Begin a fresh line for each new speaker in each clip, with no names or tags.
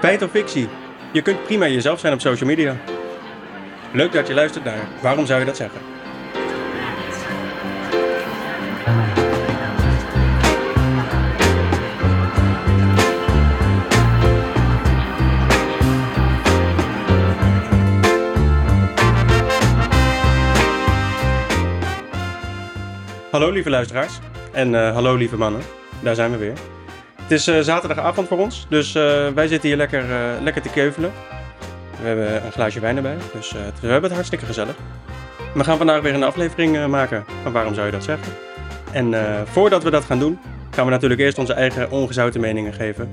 Feit of fictie? Je kunt prima jezelf zijn op social media. Leuk dat je luistert naar Waarom zou je dat zeggen? Hallo lieve luisteraars en eh, hallo lieve mannen, daar zijn we weer. Het is eh, zaterdagavond voor ons, dus eh, wij zitten hier lekker, eh, lekker te keuvelen. We hebben een glaasje wijn erbij, dus eh, we hebben het hartstikke gezellig. We gaan vandaag weer een aflevering eh, maken, maar waarom zou je dat zeggen? En eh, voordat we dat gaan doen, gaan we natuurlijk eerst onze eigen ongezouten meningen geven.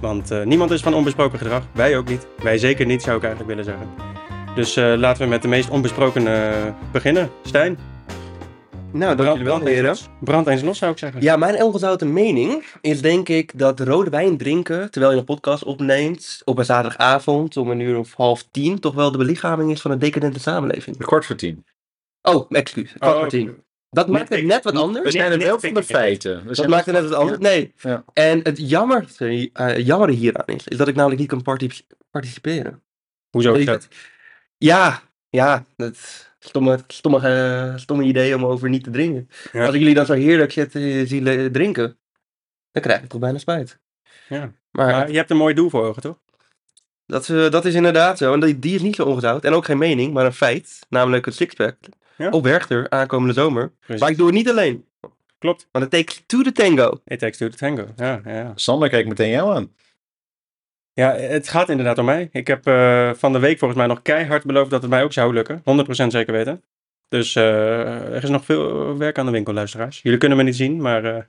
Want eh, niemand is van onbesproken gedrag, wij ook niet. Wij zeker niet, zou ik eigenlijk willen zeggen. Dus eh, laten we met de meest onbesproken eh, beginnen. Stijn,
Nou, dank jullie wel,
eens
heren.
los. Brand eens los, zou ik zeggen.
Ja, mijn ongezouten mening is denk ik dat rode wijn drinken terwijl je een podcast opneemt op een zaterdagavond om een uur of half tien toch wel de belichaming is van een decadente samenleving.
Kwart voor tien.
Oh, excuus, kwart voor tien. Dat maakt het
ik-
net wat
We
anders.
zijn er
nee,
wel
vind
van
ik
de
niet.
feiten. We
Dat
zijn
maakt het net wat anders. Nee.
Ja.
En het jammer, eh, jammere hieraan is, is dat ik namelijk niet kan parti- participeren.
Hoezo is
Weet je
dat?
Ja, ja, dat stomme, stomme, eh, stomme idee om over niet te drinken.
Ja.
Als ik jullie dan zo heerlijk zit, eh, zie le- drinken, dan krijg ik toch bijna spijt.
Ja.
Maar
Maar je hebt een mooi doel voor ogen, toch?
dat, eh, dat is inderdaad zo. En die, die is niet zo ongezout. En ook geen mening, maar een feit. Namelijk het sixpack
Ja.
op Werchter aankomende zomer.
Precies.
Maar ik doe het niet alleen.
Klopt.
Want het takes two the tango.
It takes two to tango. Ja, ja, ja.
Sander kijkt meteen jou aan.
ja, het gaat inderdaad om mij. Ik heb eh, van de week volgens mij nog keihard beloofd dat het mij ook zou lukken. 100% zeker weten. Dus eh, er is nog veel werk aan de winkel, luisteraars. Jullie kunnen me niet zien, maar eh,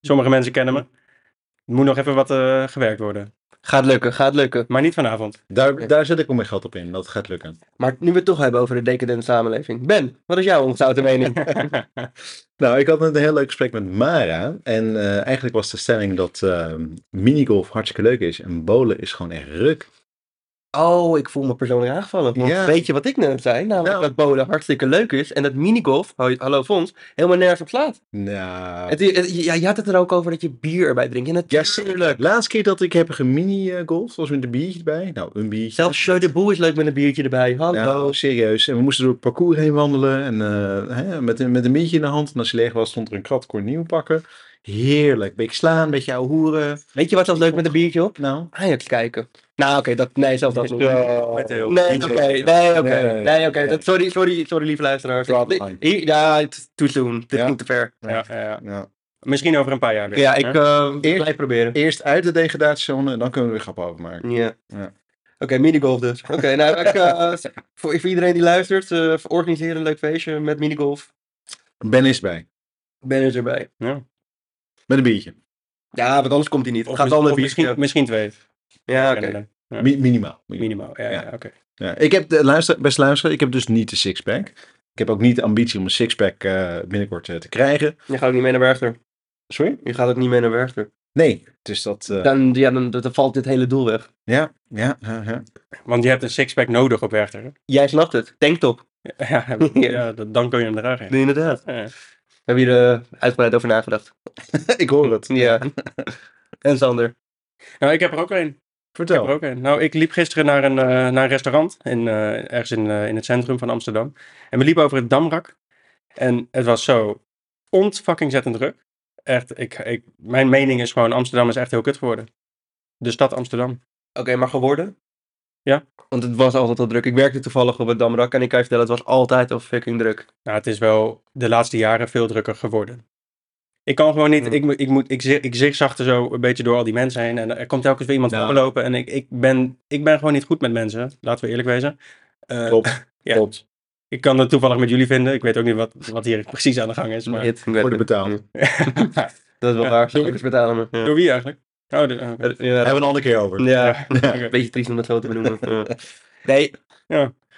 sommige mensen kennen me. Er moet nog even wat eh, gewerkt worden.
Gaat lukken, gaat lukken.
Maar niet vanavond.
Daar, daar zet ik al mijn geld op in. Dat gaat lukken.
Maar nu we het toch hebben over de decadente samenleving. Ben, wat is jouw ongezouten mening?
Nou, ik had net een heel leuk gesprek met Mara. En eh, eigenlijk was de stelling dat eh, minigolf hartstikke leuk is. En bowlen is gewoon echt ruk.
Oh, ik voel me persoonlijk aangevallen. Want
Ja.
weet je wat ik net zei? Namelijk
Nou.
dat bowlen hartstikke leuk is en dat minigolf, hoi- hallo Fons, helemaal nergens op slaat.
Nou,
Het- het- ja, je had het er ook over dat je bier erbij drinkt. En natuurlijk.
jazeker. Laatste keer dat ik heb gemini-golf, was met een biertje erbij. Nou, een biertje.
Zelfs Jeu de Boel is leuk met een biertje erbij. Hallo.
Nou, serieus. En we moesten door het parcours heen wandelen. En eh, hè, met, een- met een biertje in de hand. En als je leeg was, stond er een krat kon je nieuw pakken. Heerlijk. Beetje slaan, beetje ouwe hoeren.
Weet je wat zelfs leuk met een biertje op?
Nou,
Ajax kijken. Nou, oké, dat, nee, zelfs dat niet.
Met heel-
Nee, oké, nee, oké,
Nee, nee,
nee, oké. dat- Sorry, sorry, sorry, lieve luisteraars.
Draw the
Ik-
line.
ik- Ja, het- too soon. Dit
Ja.
ging te ver.
Ja, ja, ja.
Ja.
Misschien over een paar jaar weer.
Ja, ik
hè?
eh,
Eerst-
blijf proberen.
Eerst uit de degradatiezone en dan kunnen we weer grappen overmaken.
Ja.
Ja.
Oké, minigolf dus. Oké, nou, ik, eh, voor, voor iedereen die luistert, eh organiseer een leuk feestje met minigolf.
Ben is bij.
Ben is erbij.
Met een biertje.
Ja, want anders komt hij niet.
Of,
Gaat
mis-
al
of
een
misschien,
biertje.
misschien twee.
Ja, oké.
Kennen we. Ja.
Mi- minimaal.
Minimaal. Ja, ja.
Ja.
oké.
Ja. Ik heb, de, luister, beste luisteraar, ik heb dus niet de sixpack. Ik heb ook niet de ambitie om een sixpack eh, binnenkort eh, te krijgen.
Je gaat ook niet mee naar Werchter.
Sorry?
Je gaat ook niet mee naar Werchter.
Nee. Dus dat... eh,
Dan, ja, dan, dan valt dit hele doel weg.
ja, ja, ja, ja.
Want je hebt een sixpack nodig op Werchter. hè?
Jij snapt het. Tanktop.
Ja, ja dat- dan kun je hem dragen.
Inderdaad.
Ja.
We hebben hier eh, uitgebreid over nagedacht.
ik hoor het.
Ja. en Sander.
Nou, ik heb er ook een. Ik heb
Vertel.
er ook een. Nou, ik liep gisteren naar een, eh, naar een restaurant, in, eh, ergens in, eh, in het centrum van Amsterdam. En we liepen over het Damrak. En het was zo ontfucking zettend druk. Echt, ik, ik, mijn mening is gewoon, Amsterdam is echt heel kut geworden. De stad Amsterdam.
Oké, maar geworden?
Ja.
Want het was altijd al druk. Ik werkte toevallig op het Damrak en ik kan je vertellen, het was altijd al fucking druk.
Nou, het is wel de laatste jaren veel drukker geworden. Ik kan gewoon niet,
Hmm.
ik, moet- ik, moet, ik, zig- ik zigzagte zo een beetje door al die mensen heen. En er komt telkens weer iemand
Nou.
voorlopen. En ik, ik, ben, ik ben gewoon niet goed met mensen, laten we eerlijk wezen. Eh,
Klopt.
Ja.
Klopt.
Ik kan het toevallig met jullie vinden. Ik weet ook niet wat, wat hier precies aan de gang is. Maar...
Hit, ik weet
Worden
het.
betaald.
Mm.
Dat is wel
Ja,
waar.
doe ik.
Slagers betalen me. Ja.
Door wie eigenlijk? Oh, de- oh, oké.
Ja,
Hebben we een andere keer over.
ja.
Oké.
een beetje triest om dat zo te benoemen. Ja. Nee,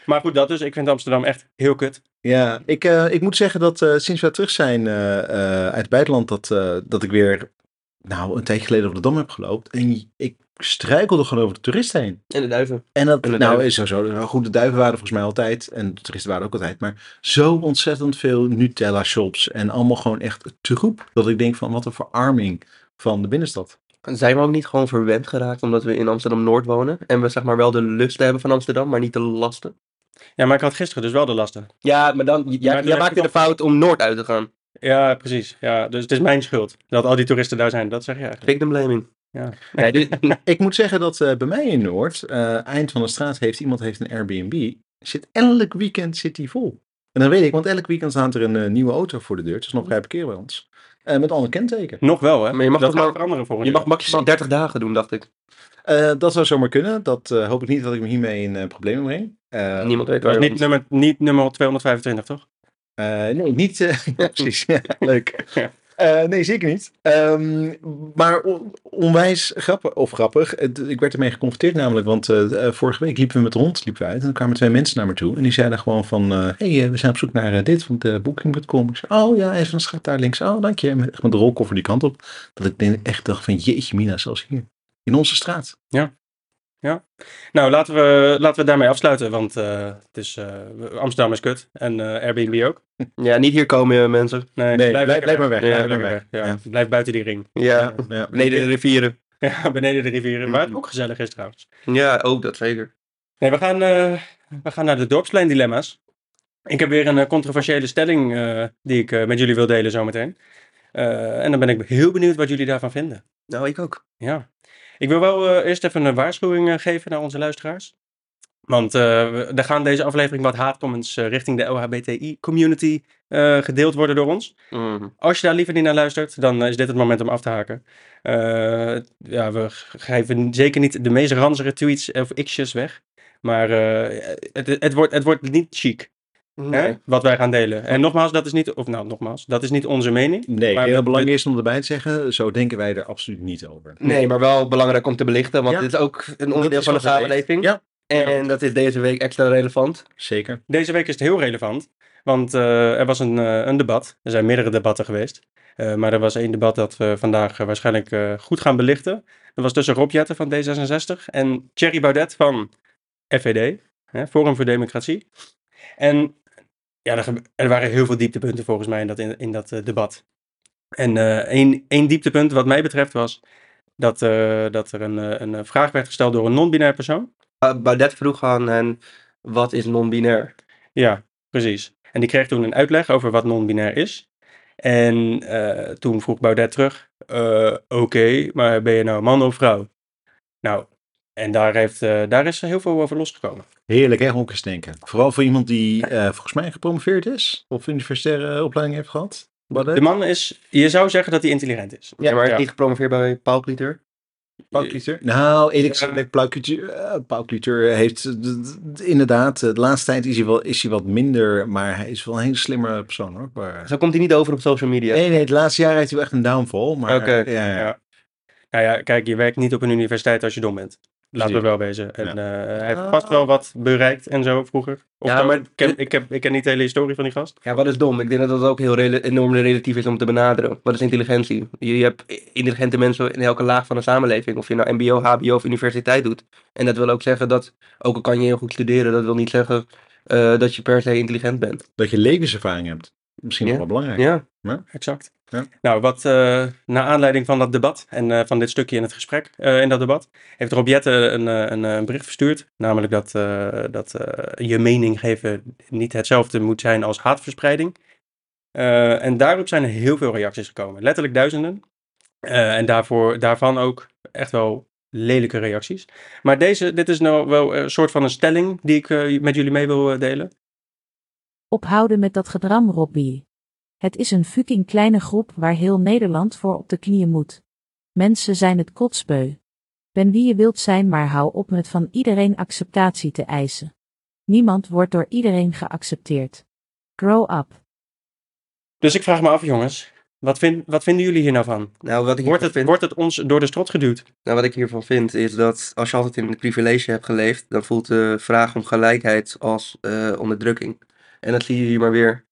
Maar goed, dat dus. Ik vind Amsterdam echt heel kut.
Ja, ik, eh, ik moet zeggen dat eh, sinds wij terug zijn eh, eh, uit het buitenland, dat, eh, dat ik weer nou, een tijdje geleden op de Dam heb gelopen. En ik struikelde gewoon over de toeristen heen.
en de duiven.
En dat
En de
nou,
duiven.
is sowieso. Nou, goed, de duiven waren volgens mij altijd, en de toeristen waren ook altijd, maar zo ontzettend veel Nutella-shops en allemaal gewoon echt troep. Dat ik denk van, wat een verarming van de binnenstad.
Zijn we ook niet gewoon verwend geraakt omdat we in Amsterdam-Noord wonen? En we zeg maar wel de lusten hebben van Amsterdam, maar niet de lasten?
Ja, maar ik had gisteren dus wel de lasten.
Ja, maar dan, j- jij-
dan
jij
heb
maakt
je
weer de fout om Noord uit te gaan.
Ja, precies. Ja, dus het is mijn schuld dat al die toeristen daar zijn. Dat zeg je eigenlijk.
Victim blaming.
Ja.
Nee, dit-
Ik moet zeggen dat eh, bij mij in Noord, eh, eind van de straat, heeft iemand heeft een Airbnb. Zit elk weekend zit die vol. En dan weet ik, want elk weekend staat er een eh, nieuwe auto voor de deur. Het is nog vrij parkeerbalans. Eh met ander kenteken.
Nog wel, hè?
Maar je mag
dat
toch
gaat
maar-
veranderen volgend
je mag
jaar.
maximaal 30 dagen doen, dacht ik.
Eh, dat zou zomaar kunnen. Dat eh, hoop ik niet dat ik me hiermee in eh, problemen breng. Eh,
Niemand weet
Dat
waar
is
je
niet nummer, niet nummer 225, toch?
Eh, nee, niet. eh, ja, precies. Ja, leuk.
Ja.
Eh, nee, zeker niet. Ehm, maar on- onwijs grappig, of grappig. Het- ik werd ermee geconfronteerd namelijk, want eh, eh, vorige week liepen we met de hond liepen we uit en er kwamen twee mensen naar me toe. En die zeiden gewoon van, eh, hey, eh, we zijn op zoek naar eh, dit van de booking.com. Ik zei, oh ja, even een schat daar links. Oh, dank je. En met, echt met de rolkoffer die kant op. Dat ik denk- echt dacht van, jeetje mina, zelfs hier. In onze straat.
Nou, laten we, laten we daarmee afsluiten, want eh, het is, eh, Amsterdam is kut en eh, Airbnb ook.
Ja, niet hier komen eh, mensen.
Nee,
Nee,
blijf,
blijf,
lekker
blijf maar weg.
Ja,
Blijf
blijf maar
lekker weg.
weg.
Ja.
Ja.
Blijf buiten die ring.
Ja,
Ja.
beneden de rivieren.
Ja, beneden de rivieren, waar het ook gezellig is trouwens.
Ja, ook dat zeker.
Nee, we gaan, eh, we gaan naar de dorpspleindilemma's. Ik heb weer een eh, controversiële stelling eh, die ik eh, met jullie wil delen zometeen. Eh, en dan ben ik heel benieuwd wat jullie daarvan vinden.
Nou, ik ook.
Ja, ik wil wel eh, eerst even een waarschuwing eh, geven naar onze luisteraars. Want eh, we- er gaan deze aflevering wat haatcomments eh, richting de LHBTI-community eh, gedeeld worden door ons.
Mm.
Als je daar liever niet naar luistert, dan eh, is dit het moment om af te haken. Eh, ja, we ge- geven zeker niet de meest ranzige tweets of x'jes weg. Maar eh, het, het, wordt, het wordt niet chic, hè,
Nee.
wat wij gaan delen. En nogmaals, dat is niet, of nou, nogmaals, dat is niet onze mening.
Nee,
Maar
maar heel
we-
belangrijk is om erbij te zeggen, zo denken wij er absoluut niet over.
Nee, maar wel belangrijk om te belichten, want
Ja.
dit is ook een onderdeel
is
van de
wat het is.
samenleving.
Ja.
En dat is deze week extra relevant.
Zeker.
Deze week is het heel relevant, want eh, er was een, eh, een debat. Er zijn meerdere debatten geweest. Eh, maar er was één debat dat we vandaag eh, waarschijnlijk eh, goed gaan belichten. Dat was tussen Rob Jetten van D66 en Thierry Baudet van FVD, hè, Forum voor Democratie. En ja, er, gebe- er waren heel veel dieptepunten volgens mij in dat, in, in dat eh, debat. En eh, één, één dieptepunt wat mij betreft was dat, eh, dat er een, eh, een eh, vraag werd gesteld door een non-binair persoon.
Uh, Baudet vroeg aan hen, wat is non-binair?
Ja, precies. En die kreeg toen een uitleg over wat non-binair is. En eh, toen vroeg Baudet terug: eh, Oké, maar ben je nou man of vrouw? Nou, en daar, heeft, eh, daar is heel veel over losgekomen.
Heerlijk, hè, honkers denken. Vooral voor iemand die eh, volgens mij gepromoveerd is of universitaire eh, opleiding heeft gehad. Baudet.
De man is, je zou zeggen dat hij intelligent is.
Ja, maar
ja.
is niet gepromoveerd bij Paul Cliteur.
Pauwklieter? Nou, eerlijk
Ja.
gezegd, Pauwklieter- eh, Pauwklieter heeft eh, d- d- inderdaad, eh, de laatste tijd is hij, wel, is hij wat minder, maar hij is wel een hele slimme persoon hoor. Maar...
Zo komt hij niet over op social media.
Nee, nee, het laatste jaar heeft hij wel echt een downfall. Maar,
Oké.
ja, ja.
Ja. Nou ja, kijk, je werkt niet op een universiteit als je dom bent. Laten we
Precies.
wel wezen. En
Ja.
eh, hij heeft
Ah.
vast wel wat bereikt en zo vroeger. Of
Ja,
zo.
maar-
ik, ken, ik, heb, ik ken niet de hele historie van die gast.
Ja, wat is dom? Ik denk dat dat ook heel rela- enorm relatief is om te benaderen. Wat is intelligentie? Je, je hebt i- intelligente mensen in elke laag van de samenleving. Of je nou mbo, hbo of universiteit doet. En dat wil ook zeggen dat, ook al kan je heel goed studeren, dat wil niet zeggen eh, dat je per se intelligent bent.
Dat je levenservaring hebt, misschien
Ja.
nog wel belangrijk.
Ja.
exact.
Ja.
Nou, wat eh naar aanleiding van dat debat en eh, van dit stukje in het gesprek eh, in dat debat, heeft Rob Jette een, eh, een, eh, een bericht verstuurd. Namelijk dat, eh, dat eh, je mening geven niet hetzelfde moet zijn als haatverspreiding. Eh, en daarop zijn er heel veel reacties gekomen. Letterlijk duizenden. Eh, en daarvoor, daarvan ook echt wel lelijke reacties. Maar deze, dit is nou wel een soort van een stelling die ik eh, met jullie mee wil eh, delen.
Ophouden met dat gedram, Robbie. Het is een fucking kleine groep waar heel Nederland voor op de knieën moet. Mensen zijn het kotsbeu. Ben wie je wilt zijn, maar hou op met van iedereen acceptatie te eisen. Niemand wordt door iedereen geaccepteerd. Grow up.
Dus ik vraag me af, jongens, wat, vind, wat vinden jullie hier nou van?
Nou, wat ik
Wordt
hiervan
het,
vind,
wordt het ons door de strot geduwd?
nou, wat ik hiervan vind is dat als je altijd in het privilege hebt geleefd, dan voelt de vraag om gelijkheid als eh, onderdrukking. En dat zie je hier maar weer.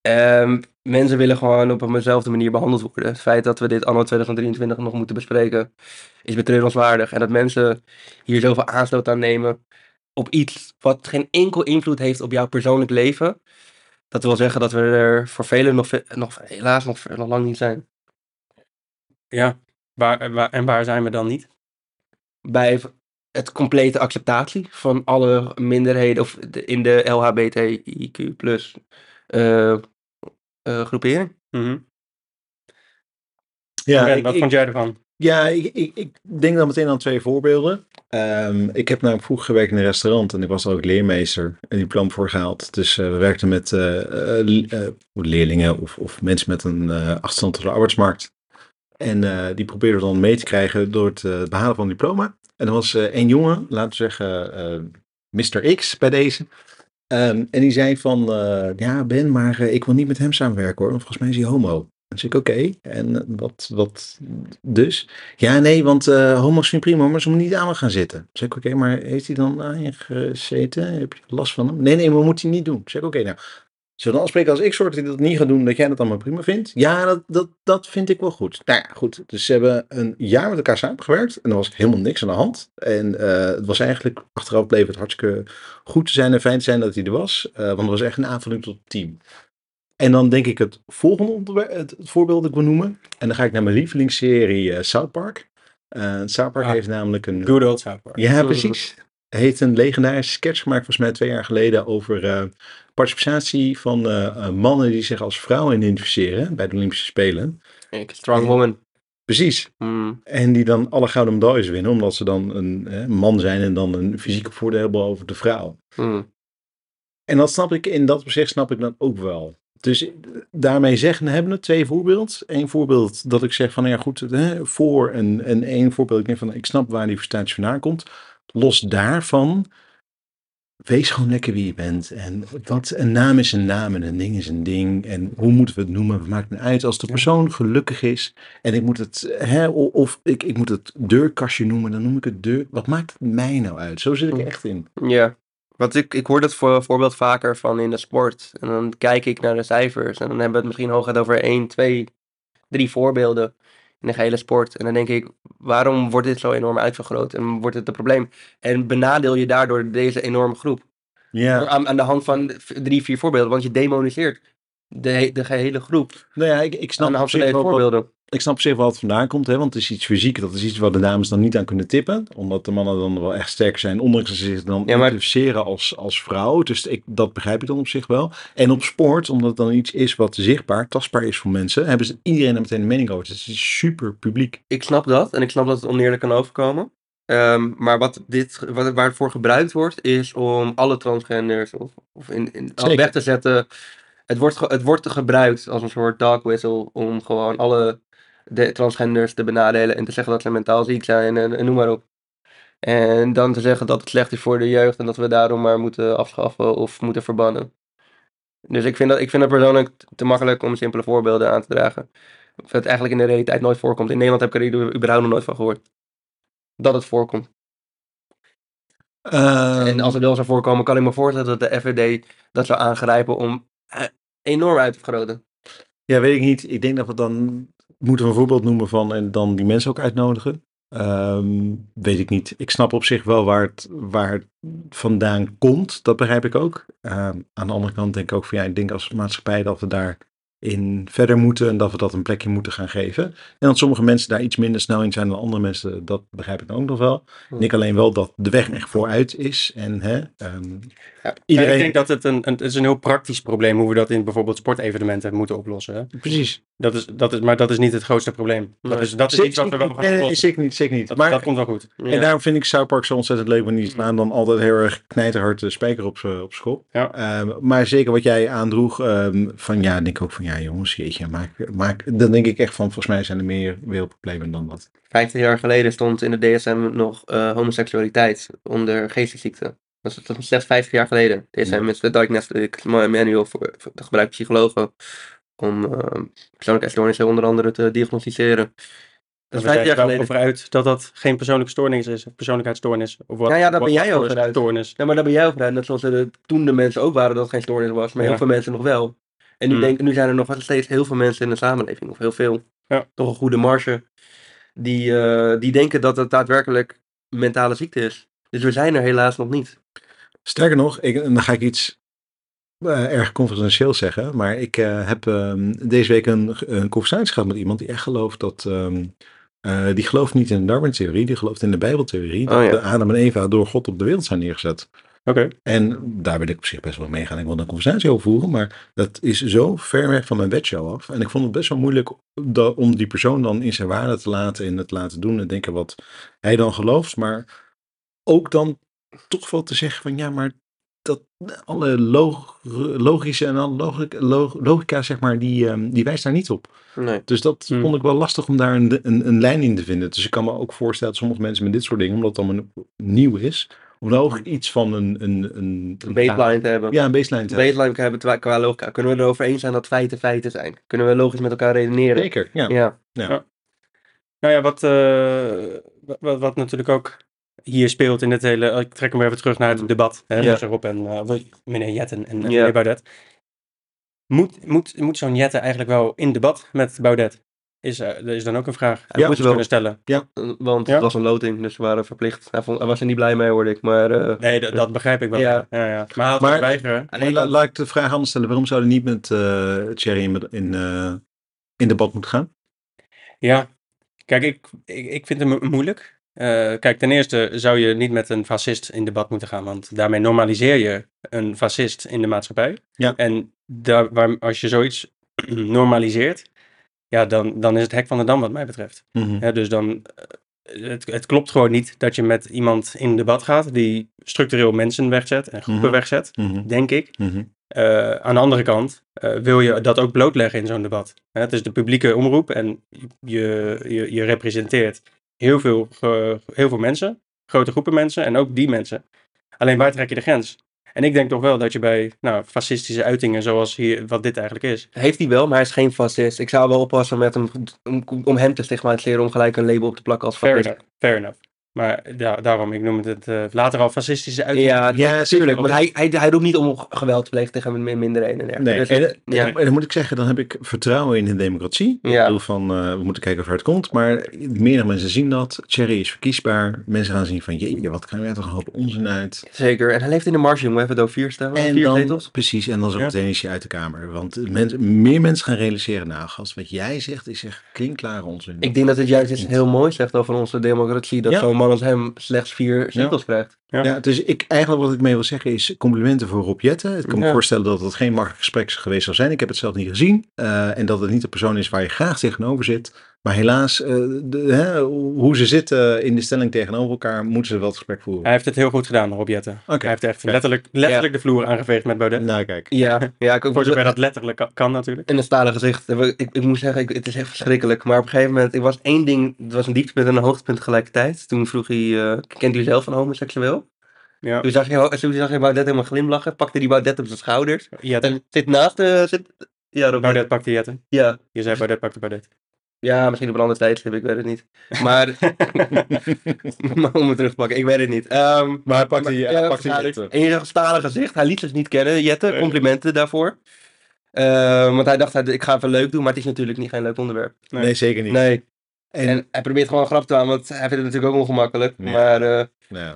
Ehm, mensen willen gewoon op eenzelfde manier behandeld worden. Het feit dat we dit anno 2023 nog moeten bespreken, is betreurenswaardig. En dat mensen hier zoveel aanstoot aan nemen op iets wat geen enkel invloed heeft op jouw persoonlijk leven. Dat wil zeggen dat we er voor velen nog, ve- nog helaas nog, nog lang niet zijn.
Ja, Waar, eh, waar, en waar zijn we dan niet?
bij het complete acceptatie van alle minderheden of de- in de LHBTIQ plus eh, groepering.
Mhm.
Ja,
Ben,
ik-
wat
ik-
vond jij ervan?
Ja, ik, ik, ik denk dan meteen aan twee voorbeelden. Ehm, ik heb namelijk vroeger gewerkt in een restaurant en ik was daar ook leermeester een diploma voor gehaald. Dus eh, we werkten met eh, eh, le- eh, leerlingen of, of mensen met een eh, achterstand op de arbeidsmarkt. En eh, die probeerden we dan mee te krijgen door het eh, behalen van een diploma. En er was eh één jongen, laten we zeggen eh Mr. X bij deze. Ehm, en die zei van, eh, ja Ben, maar eh, ik wil niet met hem samenwerken hoor, want volgens mij is hij homo. En toen zei ik, oké, en eh, wat, wat dus? Ja, nee, want eh homo's vind ik prima, maar ze moeten niet aan me gaan zitten. Zeg ik, oké, maar heeft hij dan aan je gezeten? Heb je last van hem? Nee, nee, maar moet hij niet doen. Zeg ik, oké, nou. Zullen we dan afspreken als ik soort dat hij dat niet gaat doen, dat jij dat allemaal prima vindt? Ja, dat, dat, dat vind ik wel goed. Nou ja, goed. Dus ze hebben een jaar met elkaar samengewerkt en er was helemaal niks aan de hand. En eh, het was eigenlijk, achteraf bleef het hartstikke goed te zijn en fijn te zijn dat hij er was. eh, want het was echt een aanvulling tot het team. En dan denk ik het volgende onderwerp, het, het voorbeeld dat ik wil noemen. En dan ga ik naar mijn lievelingsserie eh, South Park. Eh, South Park
Ah,
heeft namelijk een...
Good old South Park.
Ja, precies. Hij heeft een legendarische sketch gemaakt, volgens mij twee jaar geleden, over eh, participatie van eh, eh, mannen die zich als vrouw identificeren bij de Olympische Spelen.
Strong woman.
Precies.
Mm.
En die dan alle gouden medailles winnen, omdat ze dan een eh, man zijn en dan een fysieke voordeel hebben over de vrouw.
Mm.
En dat snap ik, in dat opzicht snap ik dan ook wel. Dus eh, daarmee zeggen hebben we twee voorbeeld. Eén voorbeeld dat ik zeg van, nou ja goed, hè, voor en, en één voorbeeld. Ik denk van, ik snap waar die frustratie vandaan komt. Los daarvan, wees gewoon lekker wie je bent. En wat, een naam is een naam en een ding is een ding. En hoe moeten we het noemen? Het maakt me uit als de persoon gelukkig is. En ik moet het, hè, o- of ik, ik moet het deurkastje noemen, dan noem ik het deur. Wat maakt het mij nou uit? Zo zit ik er
Hmm.
echt in.
Ja. Want ik, ik hoor dat voor, voorbeeld vaker van in de sport. En dan kijk ik naar de cijfers. En dan hebben we het misschien hooguit over één, twee, drie voorbeelden in de gehele sport. En dan denk ik, waarom wordt dit zo enorm uitvergroot? En wordt het een probleem? En benadeel je daardoor deze enorme groep?
Ja.
Aan, aan de hand van v- drie, vier voorbeelden. Want je demoniseert de, he- de gehele groep.
Nou ja, ik, ik snap
aan de
op
hand van
zich
deze
wel wat-
voorbeelden.
ik snap op zich wel wat vandaan komt, hè, want het is iets fysiek. Dat is iets waar de dames dan niet aan kunnen tippen. Omdat de mannen dan wel echt sterker zijn, ondanks dat ze zich dan
Ja, maar-
identificeren als, als vrouw. Dus ik, dat begrijp ik dan op zich wel. En op sport, omdat het dan iets is wat zichtbaar, tastbaar is voor mensen, hebben ze iedereen er meteen een mening over. Dus het is super publiek.
Ik snap dat. En ik snap dat het oneerlijk kan overkomen. Ehm, maar wat dit, wat, waar het voor gebruikt wordt, is om alle transgenders of, of in, in, al
Zeker.
weg te zetten. Het wordt, ge- het wordt gebruikt als een soort dog whistle om gewoon alle de transgenders te benadelen en te zeggen dat ze mentaal ziek zijn en, en noem maar op. En dan te zeggen dat het slecht is voor de jeugd en dat we daarom maar moeten afschaffen of moeten verbannen. Dus ik vind dat, ik vind dat persoonlijk te makkelijk om simpele voorbeelden aan te dragen of het eigenlijk in de realiteit nooit voorkomt. In Nederland heb ik er überhaupt nog nooit van gehoord. Dat het voorkomt.
Ehm.
en als het wel zou voorkomen, kan ik me voorstellen dat de FVD dat zou aangrijpen om eh, enorm uit te vergroten.
Ja, weet ik niet. Ik denk dat we dan moeten we een voorbeeld noemen van en dan die mensen ook uitnodigen. Ehm, weet ik niet. Ik snap op zich wel waar het, waar het vandaan komt. Dat begrijp ik ook. Ehm, aan de andere kant denk ik ook van ja, ik denk als maatschappij dat we daarin verder moeten en dat we dat een plekje moeten gaan geven. En dat sommige mensen daar iets minder snel in zijn dan andere mensen, dat begrijp ik dan ook nog wel.
Hmm.
Ik denk alleen wel dat de weg echt vooruit is. En hè, ehm,
Iedereen...
Iedereen-
Ik denk dat het een, een, het is een heel praktisch probleem hoe we dat in bijvoorbeeld sportevenementen moeten oplossen. Hè?
precies.
Dat is, dat is, maar dat is niet het grootste probleem. Dat
Nee.
is, dat is iets wat we wel gaan
eh,
Nee, nee, nee,
oplossen.
zeker niet, zeker niet.
Dat,
Maar-
dat komt wel goed.
Ja.
En daarom vind ik South Park zo ontzettend leuk, maar niet slaan dan altijd heel erg knijterhard de spijker op z'n- op school. Ehm,
Ja.
maar zeker wat jij aandroeg, ehm, van ja, denk ik ook van ja jongens, jeetje, maak, maak, dan denk ik echt van volgens mij zijn er meer wereldproblemen dan dat.
15 jaar geleden stond in de DSM nog eh, homoseksualiteit onder geestesziekte. Dat is- dat is slechts 50 jaar geleden. DSM is de Diagnostic Manual voor, voor de gebruik psychologen om eh, persoonlijke stoornissen onder andere te diagnosticeren. Dat
Dat
is
we
50 jaar
er wel
geleden.
over uit dat dat geen persoonlijke stoornis is. of Persoonlijkheidsstoornis. Of wat,
Ja, ja, daar
wat
ben jij
voor
over uit.
Stoornis.
Ja, maar daar ben jij ook gedaan. Net zoals er toen de mensen ook waren dat het geen stoornis was. Maar
Ja.
heel veel mensen nog wel. En nu,
Hmm.
denk, nu zijn er nog steeds heel veel mensen in de samenleving. Of heel veel.
Ja.
Toch een goede marge. Die, eh, die denken dat het daadwerkelijk mentale ziekte is. Dus we zijn er helaas nog niet.
Sterker nog, ik, en dan ga ik iets eh, erg confidentieel zeggen, maar ik eh, heb ehm, deze week een, een conversatie gehad met iemand die echt gelooft dat ehm, Eh, die gelooft niet in de Darwin-theorie, die gelooft in de Bijbeltheorie. Dat
Oh, ja.
de Adam en Eva door God op de wereld zijn neergezet.
Oké.
En daar wil ik op zich best wel mee gaan. Ik wil een conversatie over voeren, maar dat is zo ver weg van mijn wedshow af. En ik vond het best wel moeilijk da- om die persoon dan in zijn waarde te laten en het laten doen en denken wat hij dan gelooft. Maar ook dan toch wel te zeggen van ja, maar dat alle log- logische en alle logica, logica zeg maar, die, ehm, die wijst daar niet op.
Nee.
Dus dat
Mm.
Hmm.
vond ik wel lastig om daar een, een, een lijn in te vinden. Dus ik kan me ook voorstellen dat sommige mensen met dit soort dingen, omdat het allemaal nieuw is, om daar ook iets van een... Een, een,
Mm. Een baseline te hebben.
Ja, een baseline te
Een baseline te hebben terwijl- qua logica. Kunnen we erover eens zijn dat feiten feiten zijn? Kunnen we logisch met elkaar redeneren?
hebben. Zeker, ja.
Ja.
Nou ja, wat, eh, wa- wa- wat, natuurlijk ook hier speelt in dit hele... oh, Ik trek hem weer even terug naar het debat hè,
Ja.
tussen Rob en eh, meneer Jetten en, en
Ja.
meneer Baudet. Moet, moet, moet zo'n Jetten eigenlijk wel in debat met Baudet? Is, eh, er is dan ook een vraag. Hij
moet
moet je
wel.
kunnen stellen.
Want
Ja.
het was een loting, dus we waren verplicht. Hij, vond, hij was er niet blij mee, hoorde ik. Maar eh,
Nee, dat- dat begrijp ik wel. Ja.
Ja.
Ja, Maar hij had
Maar-
het weigeren.
Maar la- laat ik de vraag anders stellen. Waarom zouden niet met eh Thierry in, in, eh, in debat moeten gaan?
Ja, kijk, ik, ik, ik vind het mo- moeilijk. Eh, kijk, ten eerste zou je niet met een fascist in debat moeten gaan, want daarmee normaliseer je een fascist in de maatschappij.
Ja.
En daar, waar, als je zoiets normaliseert, ja, dan, dan is het hek van de dam wat mij betreft.
Mhm.
Hè, dus dan, eh, het, het klopt gewoon niet dat je met iemand in debat gaat die structureel mensen wegzet en groepen
Mhm.
wegzet,
Mhm,
denk ik.
mhm.
Eh, aan de andere kant eh, wil je dat ook blootleggen in zo'n debat. Hè, het is de publieke omroep en je, je, je representeert heel veel, ge- heel veel mensen, grote groepen mensen en ook die mensen. Alleen waar trek je de grens? En ik denk toch wel dat je bij nou, fascistische uitingen zoals hier, wat dit eigenlijk is.
heeft hij wel, maar hij is geen fascist. Ik zou wel oppassen met hem, om, om hem te stigmatiseren om gelijk een label op te plakken als
Fair
fascist.
enough. Fair enough. Maar da- daarom, ik noem het eh, later al fascistische uitingen.
Ja,
Ja,
natuurlijk.
zeker.
Maar hij, hij, hij roept niet om geweld te plegen tegen min- minderheden. en
Nee,
dergelijke.
en,
Dus-
en- en dan moet ik zeggen, dan heb ik vertrouwen in de democratie. Ik
Ja.
bedoel van, eh, we moeten kijken of het komt. Maar meerdere mensen zien dat. Thierry is verkiesbaar. Mensen gaan zien van, jeetje, wat krijgen wij toch een hoop onzin uit.
Zeker. En hij leeft in de marge, jongen. We hebben het over vier stemmen.
En
vier
dan,
zetels.
precies, en dan zo
Ja.
meteen is hij uit de kamer. Want mensen- meer mensen gaan realiseren, nou gast, wat jij zegt is echt klinkklare onzin.
Ik denk dat het juist iets heel moois zegt over onze democratie. Dat
Ja.
zo'n man als hem slechts vier zetels krijgt.
Ja, dus ik, eigenlijk wat ik mee wil zeggen is complimenten voor Rob Jetten. Ik kan me
Ja.
voorstellen dat het geen makkelijk gesprek geweest zou zijn. Ik heb het zelf niet gezien. eh, en dat het niet de persoon is waar je graag tegenover zit. Maar helaas, eh, de, hè, hoe ze zitten in de stelling tegenover elkaar, moeten ze wel het gesprek voeren.
Hij heeft het heel goed gedaan, Rob Jetten.
Oké.
Hij heeft echt
Kijk.
letterlijk, letterlijk de vloer aangeveegd met Baudet.
Nou, kijk.
Ja, ja ik,
Voor zover dat letterlijk kan, kan natuurlijk.
in het stalen gezicht. Ik, ik, ik moet zeggen, ik, het is echt verschrikkelijk. Maar op een gegeven moment, er was één ding. Het was een dieptepunt en een hoogtepunt tegelijkertijd. Toen vroeg hij, eh, kent u zelf een homoseksueel?
Ja.
Oh. Toen zag je, toen zag je Baudet helemaal glimlachen. Pakte die Baudet op zijn schouders.
Jetten.
En zit naast... eh, zit, ja, Rob-
Baudet pakte Jetten.
Ja.
Je zei Baudet pakte Baudet.
ja, misschien op een andere tijdstip, ik weet het niet. Maar Maar om het terug te pakken, ik weet het niet. Ehm,
maar hij pakt die... eh.
ja, en je zag een stalen gezicht. Hij liet zich niet kennen. Jette, complimenten daarvoor. Ehm, want hij dacht, hij- ik ga even leuk doen, maar het is natuurlijk niet geen leuk onderwerp.
Nee.
Nee, zeker niet.
Nee.
En,
En, hij probeert gewoon een grap te houden, want hij vindt het natuurlijk ook ongemakkelijk.
Ja.
Maar eh,
nou ja.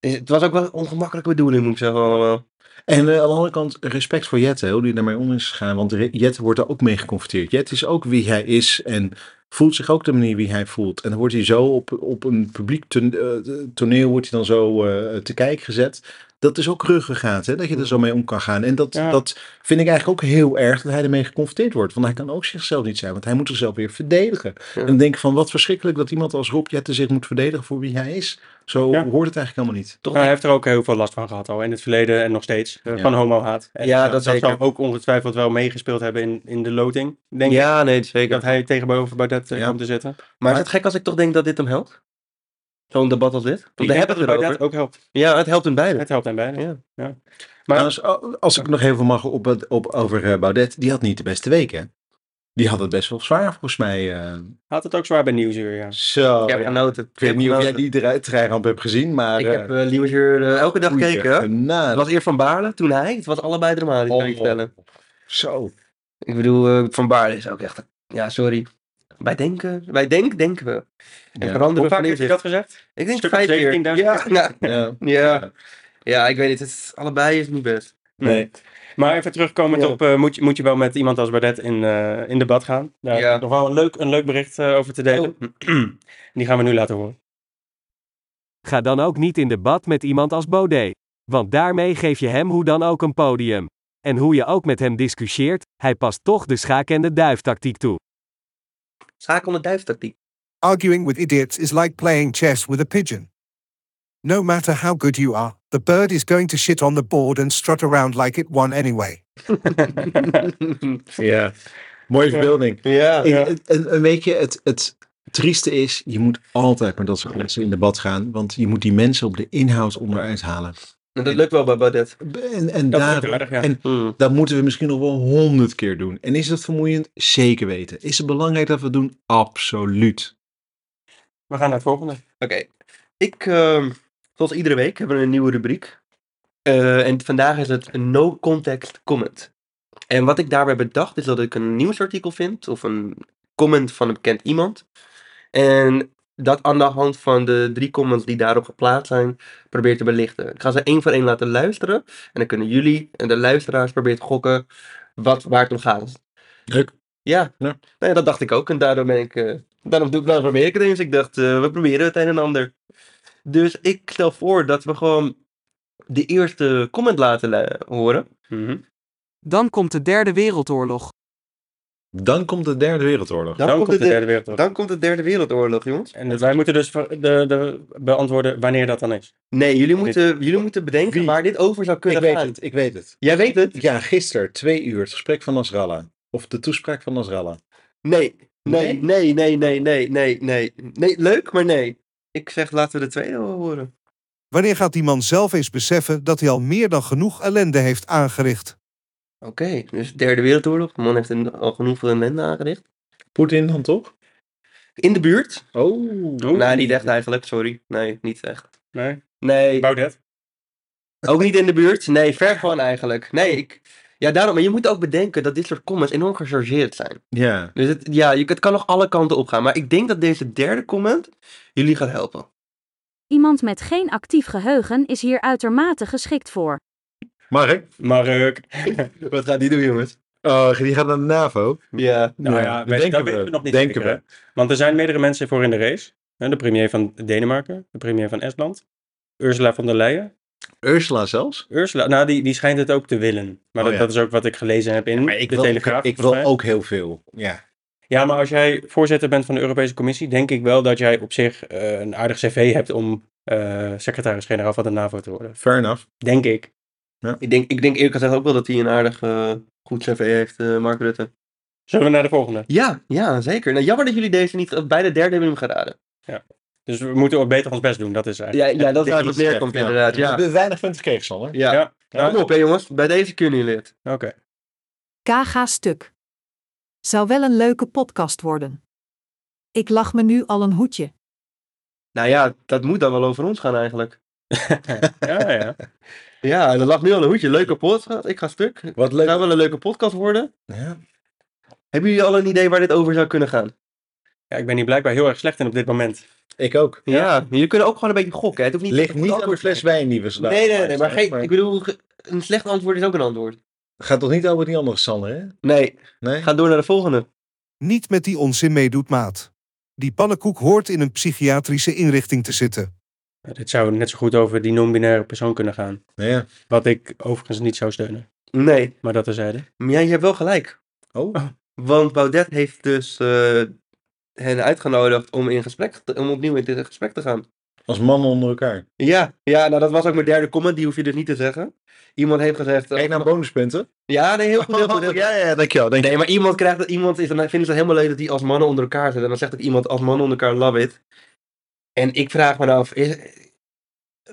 het is- het was ook wel een ongemakkelijke bedoeling, moet ik zeggen allemaal.
En eh, aan de andere kant, respect voor Jette, hoe die daarmee om is gegaan. Want Re- Jette wordt daar ook mee geconfronteerd. Jette is ook wie hij is en voelt zich ook de manier wie hij voelt. En dan wordt hij zo op, op een publiek ton- eh, toneel wordt hij dan zo eh, te kijk gezet. Dat is ook ruggengraat, hè, dat je er zo mee om kan gaan. En dat,
Ja.
dat vind ik eigenlijk ook heel erg dat hij ermee geconfronteerd wordt. Want hij kan ook zichzelf niet zijn, want hij moet zichzelf weer verdedigen.
Ja.
En dan denk ik van, wat verschrikkelijk dat iemand als Rob Jette zich moet verdedigen voor wie hij is. Zo
Ja.
hoort het eigenlijk helemaal niet.
Toch?
Nou, hij heeft er ook heel veel last van gehad al in het verleden en nog steeds. eh,
Ja.
Van homohaat. En
Ja, dat
dat
zeker.
zou ook ongetwijfeld wel meegespeeld hebben in, in de loting. Denk ik
ja, nee, zeker.
dat hij tegenover Baudet eh,
Ja.
komt te zitten.
Maar is het gek als ik toch denk dat dit hem helpt? Zo'n debat als dit? Want
Ik
daar
denk
hebben
dat
we het
Baudet
erover.
ook helpt.
Ja, het helpt hun beiden.
Het helpt hem beiden.
Ja.
Maar-
Trouwens, o- als ik nog even mag op, het- op, over eh, Baudet, die had niet de beste week, hè? Die had het best wel zwaar, volgens mij. eh.
Had het ook zwaar bij Nieuwsuur, ja.
Zo.
ik heb
ja.
genoten.
Ik weet niet of jij
genoten.
die dra- treinramp hebt gezien, maar...
Oh, Ik heb uh, Nieuwsuur eh, elke dag gekeken. hè? Het was eerst Van Baarle, toen hij. Het was allebei dramatisch, kan ik
Oh.
je vertellen.
Zo.
Ik bedoel, eh, Van Baarle is ook echt... een- Ja, sorry. Wij denken, wij denk, denken we. En
Ja.
veranderen
Hoe
we van
vaak heeft hij
inzicht.
dat gezegd?
Ik denk
Stuk
vijf keer.
17.000
Ja, nou,
Ja.
ja. ja, ik weet niet. Het is, allebei is niet best.
Nee.
Maar even terugkomend
Ja.
op, eh, moet, je, moet je wel met iemand als Bardet in, eh, in debat gaan? Daar
Ja.
heb ik nog wel een leuk, een leuk bericht eh, over te
Oh,
delen.
hm.
Die gaan we nu laten horen.
Ga dan ook niet in debat met iemand als Baudet. Want daarmee geef je hem hoe dan ook een podium. En hoe je ook met hem discussieert, hij past toch de schaak- en de duiftactiek toe.
Schakel de duiftactiek.
Arguing with idiots is like playing chess with a pigeon. No matter how good you are, the bird is going to shit on the board and strut around like it won anyway.
Ja, mooie verbeelding.
ja.
Ja.
Ik- Een, een beetje het, het trieste is, je moet altijd met dat soort mensen in debat gaan, want je moet die mensen op de inhoud onderuit halen.
En dat lukt wel bij Baudet.
En, en,
Dat
daar,
vind ik aardig, ja.
en dat moeten we misschien nog wel honderd keer doen. En is dat vermoeiend? Zeker weten. Is het belangrijk dat we het doen? Absoluut.
We gaan naar het volgende.
Oké. Ik, ehm, zoals iedere week, hebben we een nieuwe rubriek. Eh, en vandaag is het een no context comment. En wat ik daarbij bedacht is dat ik een nieuwsartikel vind of een comment van een bekend iemand. En dat aan de hand van de drie comments die daarop geplaatst zijn, probeer te belichten. Ik ga ze één voor één laten luisteren. En dan kunnen jullie en de luisteraars proberen te gokken wat, waar het om gaat.
Leuk.
Ja,
Ja.
Nou ja, dat dacht ik ook. En daardoor ben ik. eh, daarom, doe, daarom probeer ik het eens. Ik dacht, eh, we proberen het een en ander. Dus ik stel voor dat we gewoon de eerste comment laten lu- horen.
Mhm.
Dan komt de derde wereldoorlog.
Dan komt de derde wereldoorlog.
Dan, komt de, derde wereldoorlog.
dan komt de Derde Wereldoorlog, jongens.
En dus wij moeten dus ver- de, de, beantwoorden wanneer dat dan is.
Nee, jullie moeten, jullie moeten bedenken
Wie?
waar dit over zou kunnen gaan.
ik weet het.
Jij weet het?
Ja, gisteren, twee uur, het gesprek van Nasrallah. Of de toespraak van Nasrallah.
Nee. Nee,
Nee?
nee, nee, nee, nee, nee, nee. Nee, leuk, maar nee. Ik zeg, laten we de tweede wel horen.
Wanneer gaat die man zelf eens beseffen dat hij al meer dan genoeg ellende heeft aangericht?
Oké, dus Derde Wereldoorlog. De man heeft een, al genoeg veel ellende aangericht.
Poetin dan toch?
In de buurt?
Oh.
Nee, niet echt eigenlijk, sorry. Nee, niet echt.
Nee,
Nee,
Baudet.
ook niet in de buurt. Nee, ver van eigenlijk. Nee, ik... Ja, daarom. Maar je moet ook bedenken dat dit soort comments enorm gechargeerd zijn.
Ja.
Dus het, ja, je, het kan nog alle kanten op gaan. Maar ik denk dat deze derde comment jullie gaat helpen.
Iemand met geen actief geheugen is hier uitermate geschikt voor.
Mark?
Mark. Nou
Wat gaat die doen, jongens?
Oh, die gaat naar de NAVO.
Ja.
Nou ja,
dat
weet-
denken
dat
we.
weten we nog niet
Denken
zeker,
we.
hè? Want er zijn meerdere mensen voor in de race. Hè, De premier van Denemarken, de premier van Estland, Ursula von der Leyen.
Ursula zelfs?
Ursula, nou die, die schijnt het ook te willen. Maar
Oh,
dat,
ja.
dat is ook wat ik gelezen heb in de Telegraaf.
ik
volgens
wil
mij.
ook heel veel. Ja.
Ja, maar als jij voorzitter bent van de Europese Commissie, denk ik wel dat jij op zich eh, een aardig cv hebt om eh, secretaris-generaal van de NAVO te worden.
Fair enough.
Denk ik.
Ik denk, ik denk eerlijk gezegd ook wel dat hij een aardig eh, goed cv heeft, eh, Mark Rutte.
Zullen we naar de volgende?
Ja, ja, zeker. Nou, jammer dat jullie deze niet... eh, Bij de derde hebben hem geraden.
Dus we moeten ook beter ons best doen, dat is
Ja,
eigenlijk.
ja dat is waar
Technisch
het neerkomt,
gezegd, ja.
inderdaad. Ja.
We- Weinig punten kreeg, Sander.
Ja.
Ja. Nou,
Kom op, hè, jongens. Bij deze kunnen jullie het.
Oké.
Kaga stuk. Zou wel een leuke podcast worden. Ik lach me nu al een hoedje.
Nou ja, dat moet dan wel over ons gaan eigenlijk.
ja, ja.
Ja, dat lag nu al een hoedje. Leuke podcast. Ik ga stuk. Het
Wat leuk.
zou wel een leuke podcast worden.
Ja.
Hebben jullie al een idee waar dit over zou kunnen gaan?
ja, ik ben hier blijkbaar heel erg slecht in op dit moment.
Ik ook.
Ja, jullie kunnen ook gewoon een beetje gokken. hè. Het hoeft niet
Ligt
het
niet aan
antwoord
de fles wijn die we
Nee,
slaan.
nee, nee, maar, geen, ik bedoel, ge- een slecht antwoord is ook een antwoord.
Gaat toch niet over die andere Sander, hè?
Nee,
Nee?
ga door naar de volgende.
Niet met die onzin meedoet, maat. Die pannenkoek hoort in een psychiatrische inrichting te zitten.
Ja, Dit zou net zo goed over die non-binaire persoon kunnen gaan.
Nou Ja.
Wat ik overigens niet zou steunen.
Nee,
Maar dat terzijde.
maar jij hebt wel gelijk.
Oh.
Want Baudet heeft dus eh, hen uitgenodigd om, in gesprek te- om opnieuw in dit gesprek te gaan.
Als mannen onder elkaar.
Ja, ja, nou dat was ook mijn derde comment, die hoef je dus niet te zeggen. Iemand heeft gezegd... eh,
Kijk naar bonuspunten.
ja, nee, heel goed, heel goed. heel goed.
ja, ja, dankjewel. Dank
Nee, maar iemand krijgt dat iemand is dan vinden ze het helemaal leuk dat die als mannen onder elkaar zitten. En dan zegt ook iemand als mannen onder elkaar love it. En ik vraag me nou af, is,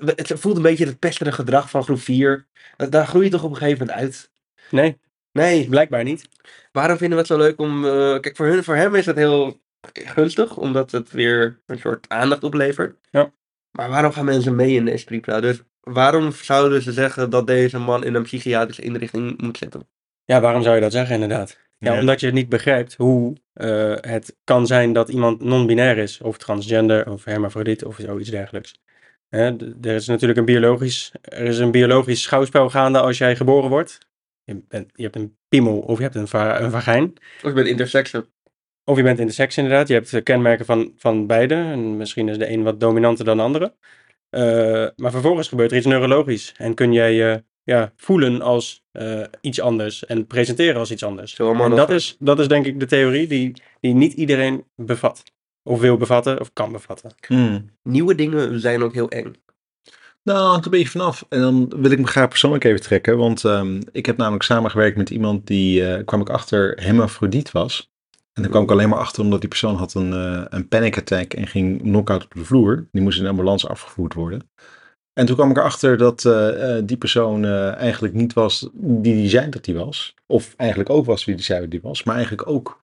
het voelt een beetje het pestere gedrag van groep 4. Dat, daar groei je toch op een gegeven moment uit.
Nee,
Nee,
blijkbaar niet.
waarom vinden we het zo leuk om. eh, kijk, voor, hun, voor hem is dat heel gunstig, omdat het weer een soort aandacht oplevert.
Ja.
Maar waarom gaan mensen mee in de Esprit Dus waarom zouden ze zeggen dat deze man in een psychiatrische inrichting moet zitten?
Ja, waarom zou je dat zeggen inderdaad? Ja,
Ja.
omdat je niet begrijpt hoe eh, het kan zijn dat iemand non-binair is. Of transgender, of hermafrodiet, of zoiets dergelijks. Hè, d- er is natuurlijk een biologisch, er is een biologisch schouwspel gaande als jij geboren wordt. Je, bent, je hebt een piemel of je hebt een, va- een vagijn.
Of je bent intersection.
Of je bent intersex inderdaad. Je hebt eh, kenmerken van, van beide. En misschien is de een wat dominanter dan de andere. Eh, maar vervolgens gebeurt er iets neurologisch. En kun jij je ja, voelen als eh, iets anders. En presenteren als iets anders.
Zo allemaal
en
nog-
dat is, dat is denk ik de theorie die, die niet iedereen bevat. Of wil bevatten, of kan bevatten.
Hmm.
Nieuwe dingen zijn ook heel eng.
Nou, het hangt een beetje vanaf. En dan wil ik me graag persoonlijk even trekken. Want ehm, ik heb namelijk samengewerkt met iemand die, eh, kwam ik achter, hermafrodiet was. En daar kwam ik alleen maar achter omdat die persoon had een, eh een panic attack en ging knock-out op de vloer. Die moest in de ambulance afgevoerd worden. En toen kwam ik erachter dat eh, eh, die persoon eh, eigenlijk niet was die die zei dat hij was. Of eigenlijk ook was wie die zei dat hij was. Maar eigenlijk ook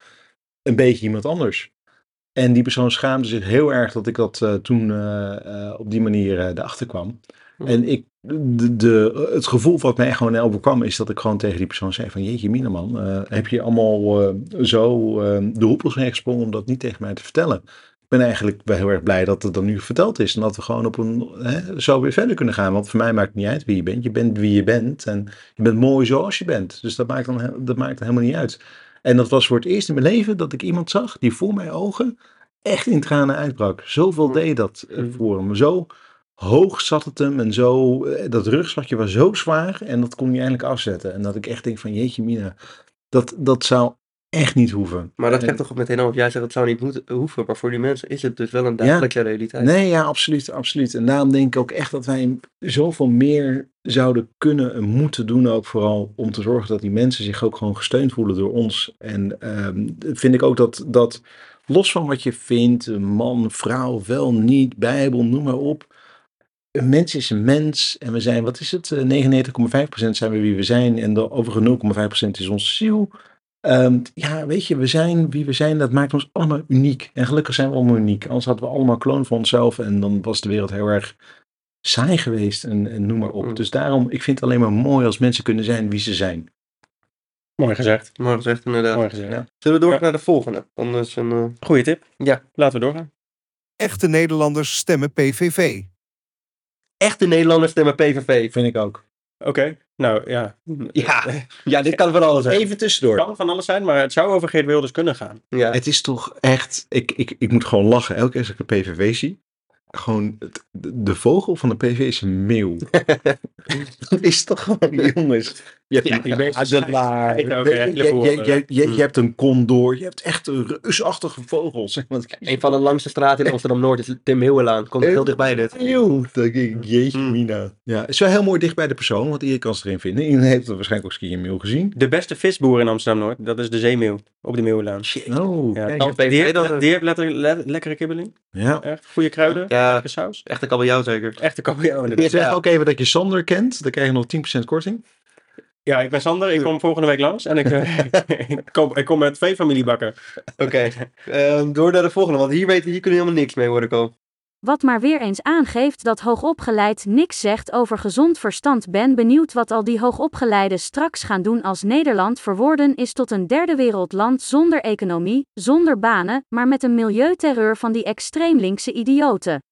een beetje iemand anders. En die persoon schaamde zich heel erg dat ik dat eh, toen eh, eh, op die manier eh, erachter kwam. En ik, de, de, het gevoel wat mij gewoon overkwam is dat ik gewoon tegen die persoon zei van jeetje mina man, eh, heb je allemaal eh, zo eh, de hoepels heen gesprongen om dat niet tegen mij te vertellen. Ik ben eigenlijk wel heel erg blij dat het dan nu verteld is en dat we gewoon op een, hè, zo weer verder kunnen gaan. Want voor mij maakt het niet uit wie je bent. Je bent wie je bent en je bent mooi zoals je bent. Dus dat maakt dan, he- dat maakt dan helemaal niet uit. En dat was voor het eerst in mijn leven dat ik iemand zag die voor mijn ogen echt in tranen uitbrak. Zoveel deed dat eh, voor hem. Zo hoog zat het hem en zo, eh, dat rugzakje was zo zwaar en dat kon hij eindelijk afzetten. En dat ik echt denk van jeetje mina, dat, dat zou echt niet hoeven.
Maar dat
En-
zegt toch meteen al, want jij zegt het zou niet moeten- hoeven, maar voor die mensen is het dus wel een
Ja.
dagelijkse realiteit.
Nee, ja, absoluut, absoluut. En daarom denk ik ook echt dat wij zoveel meer zouden kunnen en moeten doen ook vooral om te zorgen dat die mensen zich ook gewoon gesteund voelen door ons. En ehm, vind ik ook dat, dat los van wat je vindt, een man, vrouw, wel, niet, bijbel, noem maar op. Een mens is een mens en we zijn, wat is het, eh, 99,5% zijn we wie we zijn en de overige 0,5% is onze ziel. Ehm, ja, weet je, we zijn wie we zijn, dat maakt ons allemaal uniek. En gelukkig zijn we allemaal uniek. Anders hadden we allemaal kloon van onszelf en dan was de wereld heel erg saai geweest en, en noem maar op.
Mm.
Dus daarom, ik vind het alleen maar mooi als mensen kunnen zijn wie ze zijn.
Mooi gezegd.
Maar dat zegt inderdaad.
Mooi gezegd.
Ja.
Zullen we doorgaan
Ja.
naar de volgende? Anders een, eh,
Goeie tip.
Ja.
Laten we doorgaan.
Echte Nederlanders stemmen PVV.
echte Nederlanders stemmen PVV.
Vind ik ook.
Oké. Nou ja.
Ja, ja dit kan van alles zijn.
Even tussendoor.
kan van alles zijn, maar het zou over Geert Wilders kunnen gaan.
Ja.
Het is toch echt, ik, ik, ik moet gewoon lachen elke keer als ik een PVV zie. Gewoon, het- de de vogel van de PV is een meeuw. dat is toch gewoon, jongens. Je hebt een, Ah,
Ja, dat is
waar.
ook een hele voorbeeld.
Je hebt een condor, je hebt echt een reusachtige vogel. Zeg maar.
Een van de langste straten in Amsterdam-Noord is Tim Heeuwelaan. Komt heel dichtbij dit.
Eeuw, dat denk ik, jeetje
Hmm.
mina. Ja, het is wel heel mooi dicht bij de persoon, want iedereen kan ze erin vinden. Iedereen heeft het waarschijnlijk ook eens een keer in mail gezien.
De beste visboer in Amsterdam-Noord, dat is de zeemeeuw op de Meeuwlaan.
Oh,
Ja,
kijk.
dan-
die,
PVV
heeft,
dan-
die heeft letterlijk le- lekkere kibbeling.
Ja.
Echt goede kruiden,
Ja,
lekkere saus.
echte kabeljauw zeker.
Echte oh, kabeljauw inderdaad.
Zeg ook even dat je Sander kent, dan krijg je nog 10% korting.
Ja, ik ben Sander, ik kom volgende week langs en ik, eh, ik, kom, ik kom met twee familiebakken.
Oké, ehm, door naar de volgende, want hier, weten, hier kun je helemaal niks mee worden al.
Wat maar weer eens aangeeft dat hoogopgeleid niks zegt over gezond verstand. Ben benieuwd wat al die hoogopgeleiden straks gaan doen als Nederland verworden is tot een derde wereldland zonder economie, zonder banen, maar met een milieuterreur van die extreem linkse idioten.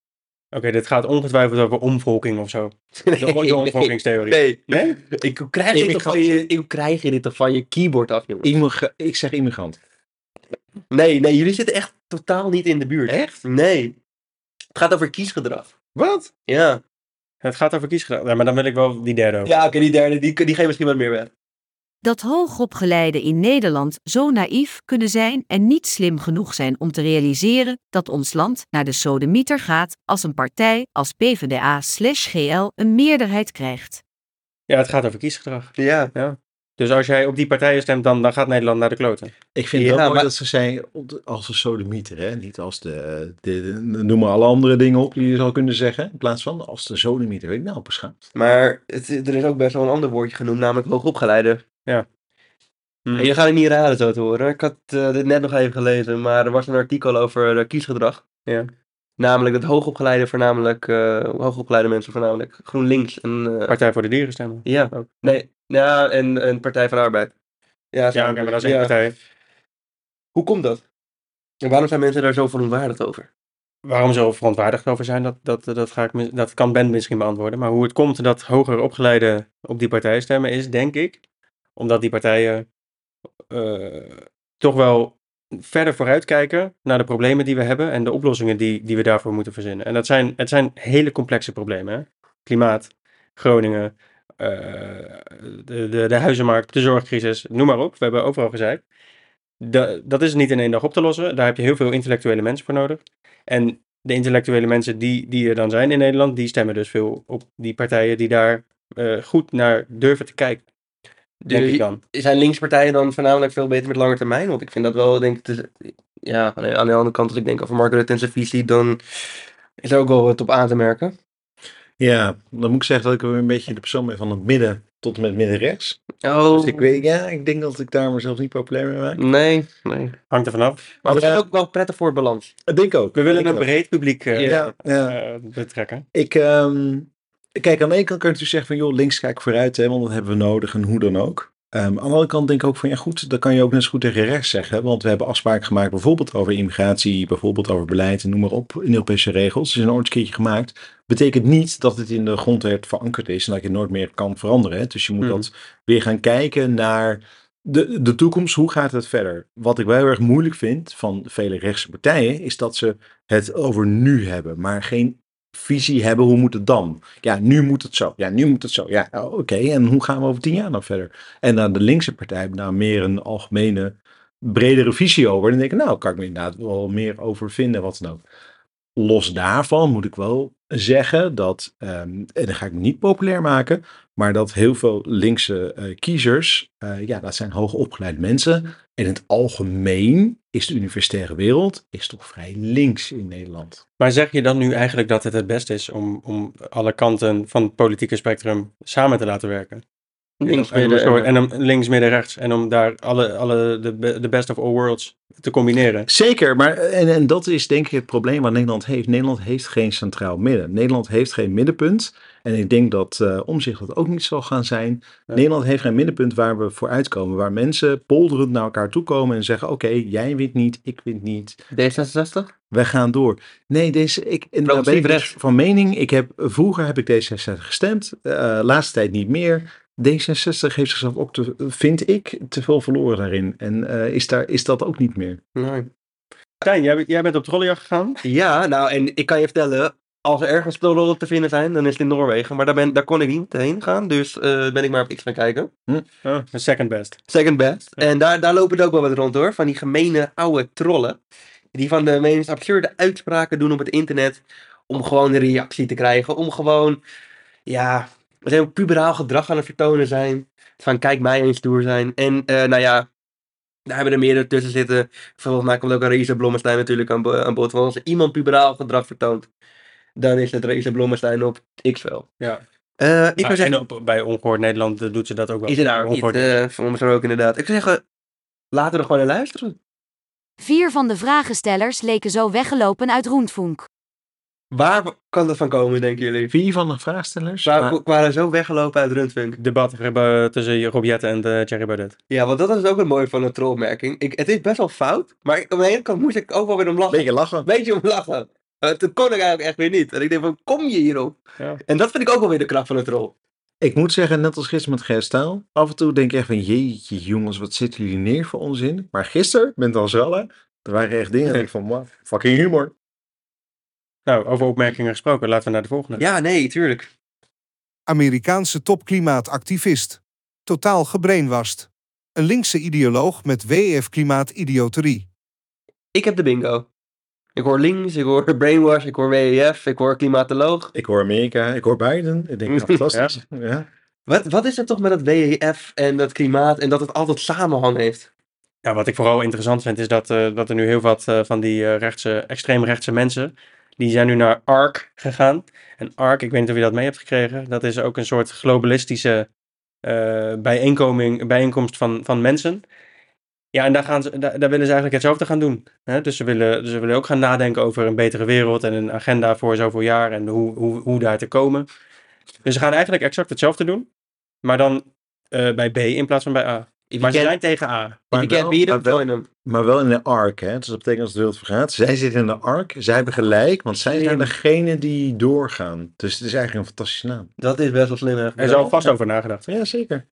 Oké, dit gaat ongetwijfeld over omvolking of zo. De, de omvolkingstheorie.
Nee,
Nee?
Ik, hoe, krijg je dit toch van je, hoe krijg je dit toch van je keyboard af, jongen?
Immigra- ik zeg immigrant.
Nee, nee, jullie zitten echt totaal niet in de buurt. Echt? Nee. Het gaat over kiesgedrag.
Wat?
Ja.
Het gaat over kiesgedrag. Ja, maar dan wil ik wel die derde over.
Ja, oké, die derde, die, die geeft misschien wat meer weg.
Dat hoogopgeleiden in Nederland zo naïef kunnen zijn en niet slim genoeg zijn om te realiseren dat ons land naar de sodemieter gaat als een partij als PvdA slash GL een meerderheid krijgt.
Ja, het gaat over kiesgedrag.
Ja.
Dus als jij op die partijen stemt, dan, dan gaat Nederland naar de kloten.
Ik vind
Ja,
het wel mooi
maar-
dat ze zijn als een sodemieter, hè? niet als de, de, de- noem maar alle andere dingen op die je zou kunnen zeggen, in plaats van als de sodemieter. Weet ik nou, beschaamd.
Maar het, er is ook best wel een ander woordje genoemd, namelijk hoogopgeleide.
Ja. Hm.
En je gaat het niet raden zo te horen. Ik had eh, dit net nog even gelezen, maar er was een artikel over eh, kiesgedrag.
Ja.
Namelijk dat hoogopgeleide voornamelijk, eh, hoogopgeleide mensen voornamelijk GroenLinks en... eh,
Partij voor de Dieren stemmen.
ja,
ook.
nee, ja, en, en Partij van de Arbeid. Ja,
Ja, oké, maar dat is één
ja.
partij.
Hoe komt dat? En waarom zijn mensen daar zo verontwaardigd over?
Waarom ze er verontwaardigd over zijn, dat, dat, dat, ga ik, mis- dat kan Ben misschien beantwoorden. Maar hoe het komt dat hoger opgeleiden op die partij stemmen, is denk ik Omdat die partijen eh, toch wel verder vooruitkijken naar de problemen die we hebben en de oplossingen die, die we daarvoor moeten verzinnen. En dat zijn, het zijn hele complexe problemen. Hè? Klimaat, Groningen, eh, de, de, de huizenmarkt, de zorgcrisis, noem maar op. We hebben overal gezeik. Da- dat is niet in één dag op te lossen. Daar heb je heel veel intellectuele mensen voor nodig. En de intellectuele mensen die, die er dan zijn in Nederland, die stemmen dus veel op die partijen die daar eh, goed naar durven te kijken. Denk ik dan.
Zijn linkspartijen dan voornamelijk veel beter met lange termijn? Want ik vind dat wel, denk ik, te- ja, aan de aan de andere kant, als ik denk over Mark Rutte en zijn visie, dan is er ook wel wat op aan te merken.
Ja, dan moet ik zeggen dat ik weer een beetje de persoon ben van het midden tot en met middenrechts.
Oh,
Dus ik weet, ja, ik denk dat ik daar mezelf niet populair mee maak.
nee, nee.
Hangt er vanaf.
Maar misschien
Ja.
ook wel prettig voor het balans.
Ik denk ook.
We willen
Ik
een
ook.
breed publiek eh,
Ja, ja.
eh, betrekken.
Ik, ehm, kijk, aan de ene kant kun je natuurlijk zeggen van, joh, links kijk vooruit, hè, want dat hebben we nodig en hoe dan ook. Ehm, aan de andere kant denk ik ook van, ja goed, dat kan je ook net zo goed tegen rechts zeggen. Want we hebben afspraken gemaakt bijvoorbeeld over immigratie, bijvoorbeeld over beleid en noem maar op, in Europese regels. Het is een ooit een keertje gemaakt. Betekent niet dat het in de grondwet verankerd is en dat je het nooit meer kan veranderen. Hè. Dus je moet
Mhm.
dat weer gaan kijken naar de, de toekomst. Hoe gaat het verder? Wat ik wel heel erg moeilijk vind van vele rechtse partijen, is dat ze het over nu hebben, maar geen visie hebben, hoe moet het dan? Ja, nu moet het zo. Ja, nu moet het zo. Ja, oh, oké. En hoe gaan we over tien jaar dan verder? En aan de linkse partij hebben nou meer een algemene, bredere visie over. Dan denk ik, nou, kan ik me inderdaad wel meer over vinden, wat dan ook. Los daarvan moet ik wel zeggen dat, ehm, en dan ga ik me niet populair maken, maar dat heel veel linkse eh, kiezers, eh, ja, dat zijn hoogopgeleid mensen. En in het algemeen is de universitaire wereld is toch vrij links in Nederland.
Maar zeg je dan nu eigenlijk dat het het best is om, om alle kanten van het politieke spectrum samen te laten werken?
Links,
en, om een
midden,
soort-
eh,
en om links, midden, rechts. En om daar alle, alle de, be- de best of all worlds te combineren.
Zeker, maar en, en dat is denk ik het probleem wat Nederland heeft. Nederland heeft geen centraal midden. Nederland heeft geen middenpunt. En ik denk dat eh omzicht dat ook niet zal gaan zijn.
Ja.
Nederland heeft geen middenpunt waar we voor uitkomen. Waar mensen polderend naar elkaar toe komen en zeggen: Oké, jij wint niet, ik wint niet.
D66?
Wij gaan door. Nee, deze, ik, en daar ben
Progressief
ik dus
rechts.
van mening. Ik heb, vroeger heb ik D66 gestemd, eh, laatste tijd niet meer. D66 heeft zichzelf ook, te, vind ik, te veel verloren daarin. En eh, is, daar, is dat ook niet meer.
Nee.
Stijn, jij, bent- jij bent op trolleyjacht gegaan.
Ja, nou, en ik kan je vertellen, als er ergens trollen te vinden zijn, dan is het in Noorwegen. Maar daar, ben, daar kon ik niet heen gaan, dus eh, ben ik maar op X gaan kijken.
Oh, second best.
Second best. En daar, daar lopen het ook wel wat rond hoor, van die gemene oude trollen. Die van de meest absurde uitspraken doen op het internet, om gewoon een reactie te krijgen. Om gewoon, ja, wat heel puberaal gedrag aan het vertonen zijn. Van kijk mij eens stoer zijn. En eh, nou ja, daar hebben er meerdere tussen zitten. Vervolgens mij komt ook een Reza Blommestein natuurlijk aan, bo- aan bod. Want als iemand puberaal gedrag vertoont, dan is het Reza Blommestein op x wel.
Ja.
Eh, ik
Nou,
zou zeggen,
en op- bij Ongehoord Nederland eh, doet ze dat ook wel.
is er daar iets
Ongehoord-
eh, van ons ook inderdaad. Ik zou zeggen, laten we er gewoon naar luisteren.
Vier van de vragenstellers leken zo weggelopen uit Roentvoenk.
Waar kan dat van komen, denken jullie?
Vier van de vraagstellers. Ah,
Waar, we waren zo weggelopen uit Rundfunk.
debat eh, tussen Rob Jetten en eh, Thierry Baudet.
Ja, want dat is ook het mooie van een trollopmerking. Ik, het is best wel fout, maar ik- aan de ene kant moest ik ook wel weer om lachen.
Beetje lachen.
Een beetje om lachen. Eh, toen kon ik eigenlijk echt weer niet. En ik denk van, kom je hierop?
Ja.
En dat vind ik ook wel weer de kracht van een troll.
Ik moet zeggen, net als gisteren met Gerstaal, af en toe denk ik echt van, jeetje jongens, wat zitten jullie neer voor onzin. Maar gisteren, met als rallen, er waren echt dingen dat ik van, wow, fucking humor.
Nou, over opmerkingen gesproken, laten we naar de volgende.
Ja, nee, tuurlijk.
Amerikaanse topklimaatactivist. Totaal gebrainwasd. Een linkse ideoloog met WEF-klimaatidioterie.
Ik heb de bingo. Ik hoor links, ik hoor brainwash, ik hoor WEF, ik hoor klimatoloog.
Ik hoor Amerika, ik hoor Biden. Ik denk, nou, fantastisch. ja.
Wat, wat is er toch met dat WEF en dat klimaat en dat het altijd samenhang heeft?
Ja, wat ik vooral interessant vind is dat, eh, dat er nu heel wat eh, van die eh, rechtse, extreemrechtse mensen, die zijn nu naar ARC gegaan. En ARC, ik weet niet of je dat mee hebt gekregen, dat is ook een soort globalistische eh, bijeenkoming, bijeenkomst van, van mensen. Ja, en daar, gaan ze, daar, daar willen ze eigenlijk hetzelfde gaan doen. Hè? Dus, ze willen, ze willen ook gaan nadenken over een betere wereld en een agenda voor zoveel jaar en hoe, hoe, hoe daar te komen. Dus ze gaan eigenlijk exact hetzelfde doen, maar dan eh, bij B in plaats van bij A.
If
Maar
you
ze
can't,
zijn tegen A.
if
Maar
you can't
wel-
beat 'em,
maar wel-
join 'em.
Maar wel in de ARC, hè. Dus dat betekent als de wereld vergaat. Zij zitten in de ARC, zij hebben gelijk, want zij zijn
Slim.
degene die doorgaan. Dus het is eigenlijk een fantastische naam.
Dat is best wel slim. hè.
Er is al vast over nagedacht.
Ja, zeker.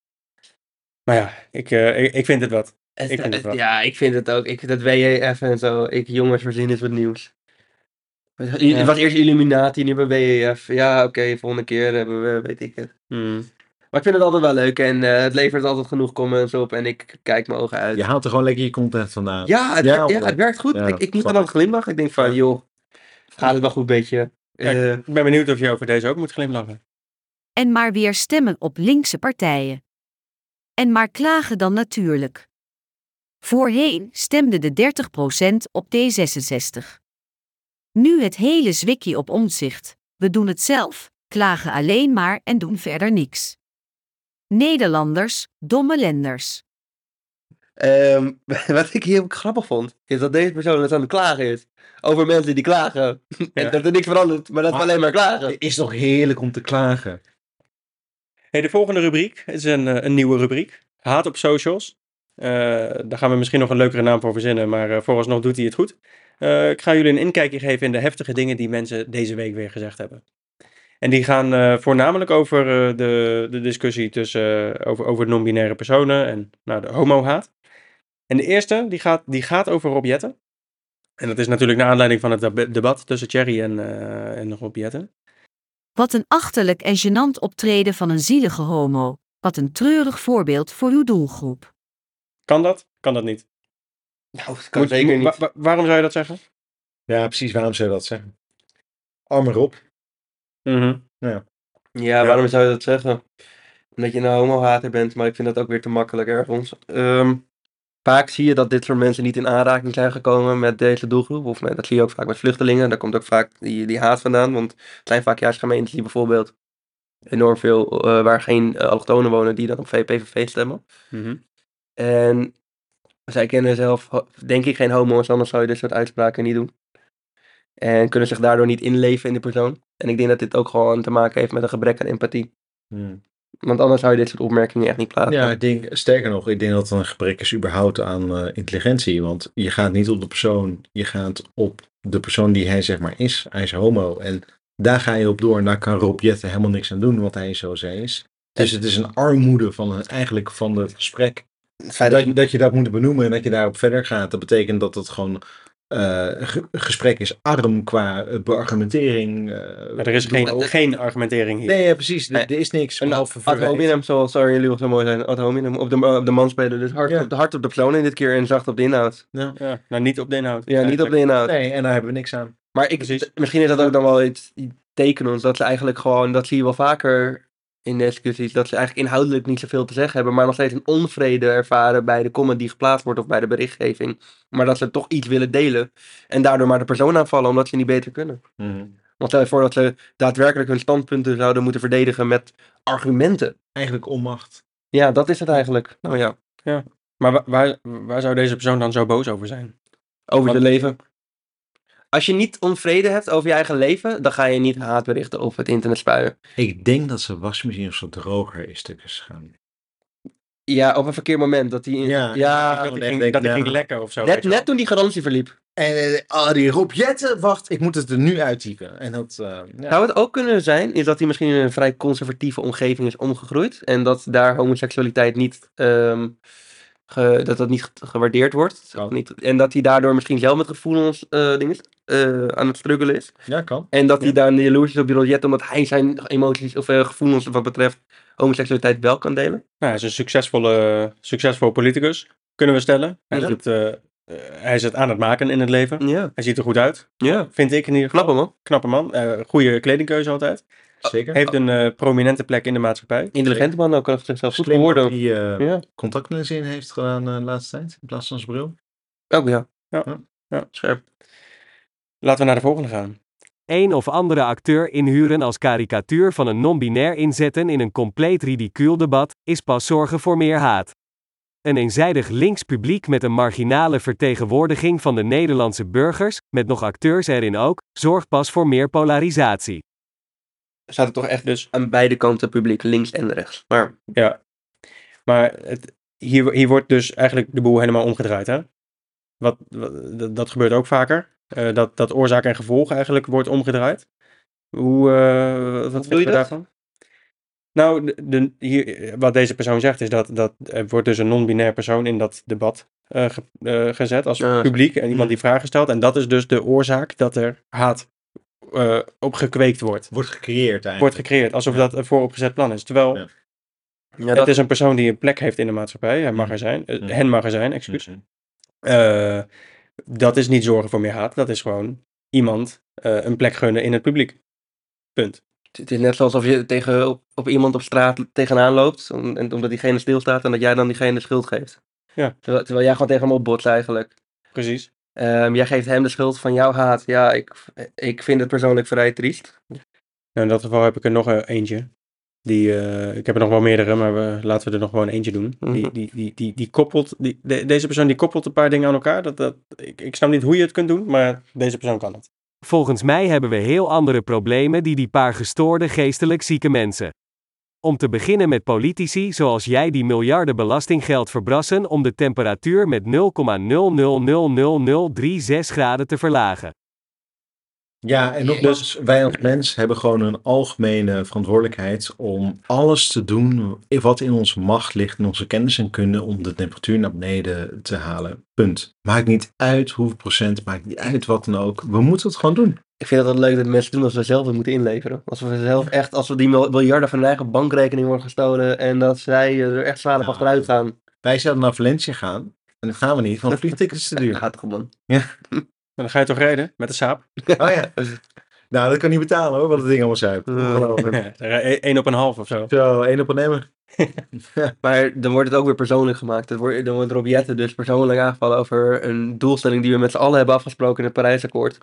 Maar ja, ik, eh, ik, ik vind het wat.
Het-
Ik vind het
het-
wel.
ja, ik vind het ook. Ik, dat WEF en zo. Ik, jongens, voorzien is wat nieuws. Het
Ja.
was eerst Illuminati, nu bij WEF. Ja, oké, volgende keer hebben we, weet ik het. Maar ik vind het altijd wel leuk en eh, het levert altijd genoeg comments op en ik kijk mijn ogen uit.
Je haalt er gewoon lekker je content vandaan.
Ja, het, wer- ja,
hoor.
het werkt goed.
Ja,
ik, ik moet
snap
dan ook glimlachen. Ik denk van, joh, gaat het wel goed, beetje.
Ja,
Eh,
ik ben benieuwd of je over deze ook moet glimlachen.
En maar weer stemmen op linkse partijen. En maar klagen dan natuurlijk. Voorheen stemde de 30% op D66. Nu het hele zwikkie op omzicht. We doen het zelf, klagen alleen maar en doen verder niks. Nederlanders, domme lenders.
Ehm, wat ik hier ook grappig vond, is dat deze persoon het aan het klagen is. Over mensen die klagen. en
Ja.
dat er niks verandert, maar Eh, dat we
Maar-
alleen maar klagen.
Het is toch heerlijk om te klagen.
Hey, de volgende rubriek is een, eh, een nieuwe rubriek. Haat op socials. Eh, daar gaan we misschien nog een leukere naam voor verzinnen, maar eh, vooralsnog doet hij het goed. Eh, ik ga jullie een inkijkje geven in de heftige dingen die mensen deze week weer gezegd hebben. En die gaan eh, voornamelijk over eh, de, de discussie tussen, eh, over, over non-binaire personen en nou, de homo-haat. En de eerste, die gaat, die gaat over Rob Jetten. En dat is natuurlijk naar aanleiding van het deb- debat tussen Thierry en, eh en Rob Jetten.
Wat een achterlijk en gênant optreden van een zielige homo. Wat een treurig voorbeeld voor uw doelgroep.
Kan dat? Kan dat niet?
Nou, dat kan
Moet-
zeker
wa-
niet.
wa- waarom zou je dat zeggen?
Ja, precies. Waarom zou je dat zeggen? Arme Rob.
Ja, waarom zou je dat zeggen? Omdat je een homo-hater bent, maar ik vind dat ook weer te makkelijk ergens. Ehm, vaak zie je dat dit soort mensen niet in aanraking zijn gekomen met deze doelgroep. Of met, dat zie je ook vaak met vluchtelingen. Daar komt ook vaak die, die haat vandaan. Want het zijn vaak juist gemeentes die bijvoorbeeld enorm veel, eh, waar geen eh, allochtonen wonen, die dan op VPVV stemmen.
Mhm.
En zij kennen zelf, ho- denk ik, geen homo's, anders zou je dit soort uitspraken niet doen. En kunnen zich daardoor niet inleven in de persoon. En ik denk dat dit ook gewoon te maken heeft met een gebrek aan empathie.
Hmm.
Want anders zou je dit soort opmerkingen echt niet plaatsen.
Ja, ik denk, sterker nog, ik denk dat het een gebrek is überhaupt aan eh, intelligentie. Want je gaat niet op de persoon, je gaat op de persoon die hij zeg maar is. Hij is homo en daar ga je op door. En daar kan Rob Jetten helemaal niks aan doen, want hij is zoals hij is. Dus het is een armoede van een, eigenlijk van het gesprek.
Het feit dat,
Dat, je- dat je dat moet benoemen en dat je daarop verder gaat, dat betekent dat het gewoon eh, ge- gesprek is arm qua eh, beargumentering. eh,
Maar er is geen, geen argumentering hier.
Nee, ja, precies. Er,
Nee.
er is niks.
een
behalve
ad
verwijt.
hominem, zoals sorry, jullie wel zo mooi zijn. Ad hominem, op de, op de man spelen. Dus hard,
Ja.
op de, hard op de persoon in dit keer en zacht op de inhoud.
Ja, nou, niet op de inhoud.
Ja, niet op de inhoud.
Nee, en daar hebben we niks aan.
Maar ik,
Precies.
d- misschien is dat ook dan wel iets tekenends. Dat ze eigenlijk gewoon, dat zie je wel vaker in discussies. Dat ze eigenlijk inhoudelijk niet zoveel te zeggen hebben. Maar nog steeds een onvrede ervaren bij de comment die geplaatst wordt of bij de berichtgeving. Maar dat ze toch iets willen delen. En daardoor maar de persoon aanvallen omdat ze niet beter kunnen.
Mhm.
Want stel je voor dat ze daadwerkelijk hun standpunten zouden moeten verdedigen met argumenten.
Eigenlijk onmacht.
Ja, dat is het eigenlijk. Nou ja,
Maar wa- waar, waar zou deze persoon dan zo boos over zijn?
over
Want-
je leven. Als je niet onvrede hebt over je eigen leven, dan ga je niet haatberichten op het internet spuien.
Ik denk dat zijn wasmachine of zijn droger is stuk is gegaan.
Ja, op een verkeerd moment. Dat die in-
Ja,
ja,
ik
dat hij
denk-
ging,
denk-
dat hij
ja.
ging lekker of zo. weet
net,
je wel.
net toen die garantie verliep.
En ah die Rob Jetten, wacht, ik moet het er nu uittypen. En dat, eh, ja.
Zou het ook kunnen zijn, is dat hij misschien in een vrij conservatieve omgeving is omgegroeid. En dat daar homoseksualiteit niet, ehm, ge- dat dat niet ge- gewaardeerd wordt.
Kan.
Niet, en dat hij daardoor misschien zelf met gevoelens eh, dingen, eh, aan het struggelen is.
ja, kan.
En dat hij daar een jaloers is op die Rojet, omdat hij zijn emoties of eh, gevoelens wat betreft homoseksualiteit wel kan delen.
Nou, hij is een succesvolle, succesvol politicus, kunnen we stellen. Hij,
Ja.
is het, eh, eh, hij is het aan het maken in het leven.
Ja,
Hij ziet er goed uit,
ja.
vind ik in ieder geval.
Knap hem, man.
Knappe man, eh, goede kledingkeuze altijd.
Zeker.
Heeft een eh, prominente plek in de maatschappij.
Intelligente man ook, kan zichzelf goed
Slim dat
verwoorden.
hij eh,
Ja,
contactlenzen in heeft gedaan eh, de laatste tijd, in plaats van zijn bril.
ook Oh, ja.
Ja, ja.
Scherp.
Laten we naar de volgende gaan.
Een of andere acteur inhuren als karikatuur van een non-binair inzetten in een compleet ridicuul debat, is pas zorgen voor meer haat. Een eenzijdig links publiek met een marginale vertegenwoordiging van de Nederlandse burgers, met nog acteurs erin ook, zorgt pas voor meer polarisatie.
Staat er toch echt dus aan beide kanten publiek, links en rechts. Maar
Maar het, hier, hier wordt dus eigenlijk de boel helemaal omgedraaid. Hè? Wat, wat- dat, dat gebeurt ook vaker. Eh, dat, dat oorzaak en gevolg eigenlijk wordt omgedraaid. Hoe, eh, wat
doe je
vinden we
dat?
daarvan? Nou, de, de- hier, wat deze persoon zegt is dat, dat er wordt dus een non-binair persoon in dat debat eh, ge- eh, gezet als
Ah, zo.
publiek en iemand die vragen stelt. En dat is dus de oorzaak dat er haat eh, op gekweekt wordt.
Wordt gecreëerd eigenlijk.
Wordt gecreëerd, alsof dat een vooropgezet plan is. Terwijl
Ja,
Ja,
het
dat,
is een persoon die een plek heeft in de maatschappij, hij mag er zijn, eh,
Mhm.
hen mag er zijn, excuus.
Mhm.
Eh, dat is niet zorgen voor meer haat, dat is gewoon iemand eh, een plek gunnen in het publiek. Punt.
het is net alsof je tegen, op, op iemand op straat tegenaan loopt. om- en, omdat diegene stilstaat en dat jij dan diegene de schuld geeft.
Ja.
Terwijl, terwijl jij gewoon tegen hem opbotst eigenlijk.
Precies.
Ehm, jij geeft hem de schuld van jouw haat. Ja, ik, ik vind het persoonlijk vrij triest.
Nou, in dat geval heb ik er nog eh, eentje. Die, eh, ik heb er nog wel meerdere, maar we, laten we er nog gewoon eentje doen. Die,
Mhm.
die, die, die, die koppelt, die, de- deze persoon die koppelt een paar dingen aan elkaar. Dat, dat, ik, ik snap niet hoe je het kunt doen, maar deze persoon kan het.
Volgens mij hebben we heel andere problemen die die paar gestoorde geestelijk zieke mensen. Om te beginnen met politici zoals jij die miljarden belastinggeld verbrassen om de temperatuur met 0,00000036 graden te verlagen.
Ja, en nogmaals, wij als mens hebben gewoon een algemene verantwoordelijkheid om alles te doen wat in onze macht ligt, in onze kennis en kunde, om de temperatuur naar beneden te halen. Punt. Maakt niet uit hoeveel procent, maakt niet uit wat dan ook. We moeten het gewoon doen.
Ik vind het altijd leuk dat mensen doen als we zelf het moeten inleveren. Als we zelf echt, als we die mil- miljarden van hun eigen bankrekening worden gestolen. en dat zij eh, er echt zwaar op
Ja.
achteruit gaan.
Wij zouden naar Valencia gaan, en dat gaan we niet, want vliegtickets te duur.
Gaat gewoon.
Maar dan ga je toch rijden met de saap?
Oh ja. Nou, dat kan niet betalen hoor, wat het ding allemaal zuipt. Ongelooflijk.
Eén op een half of zo.
Zo, één op een emmer.
Maar dan wordt het ook weer persoonlijk gemaakt. Dan wordt, dan wordt Robiette dus persoonlijk aangevallen over een doelstelling die we met z'n allen hebben afgesproken in het Parijsakkoord.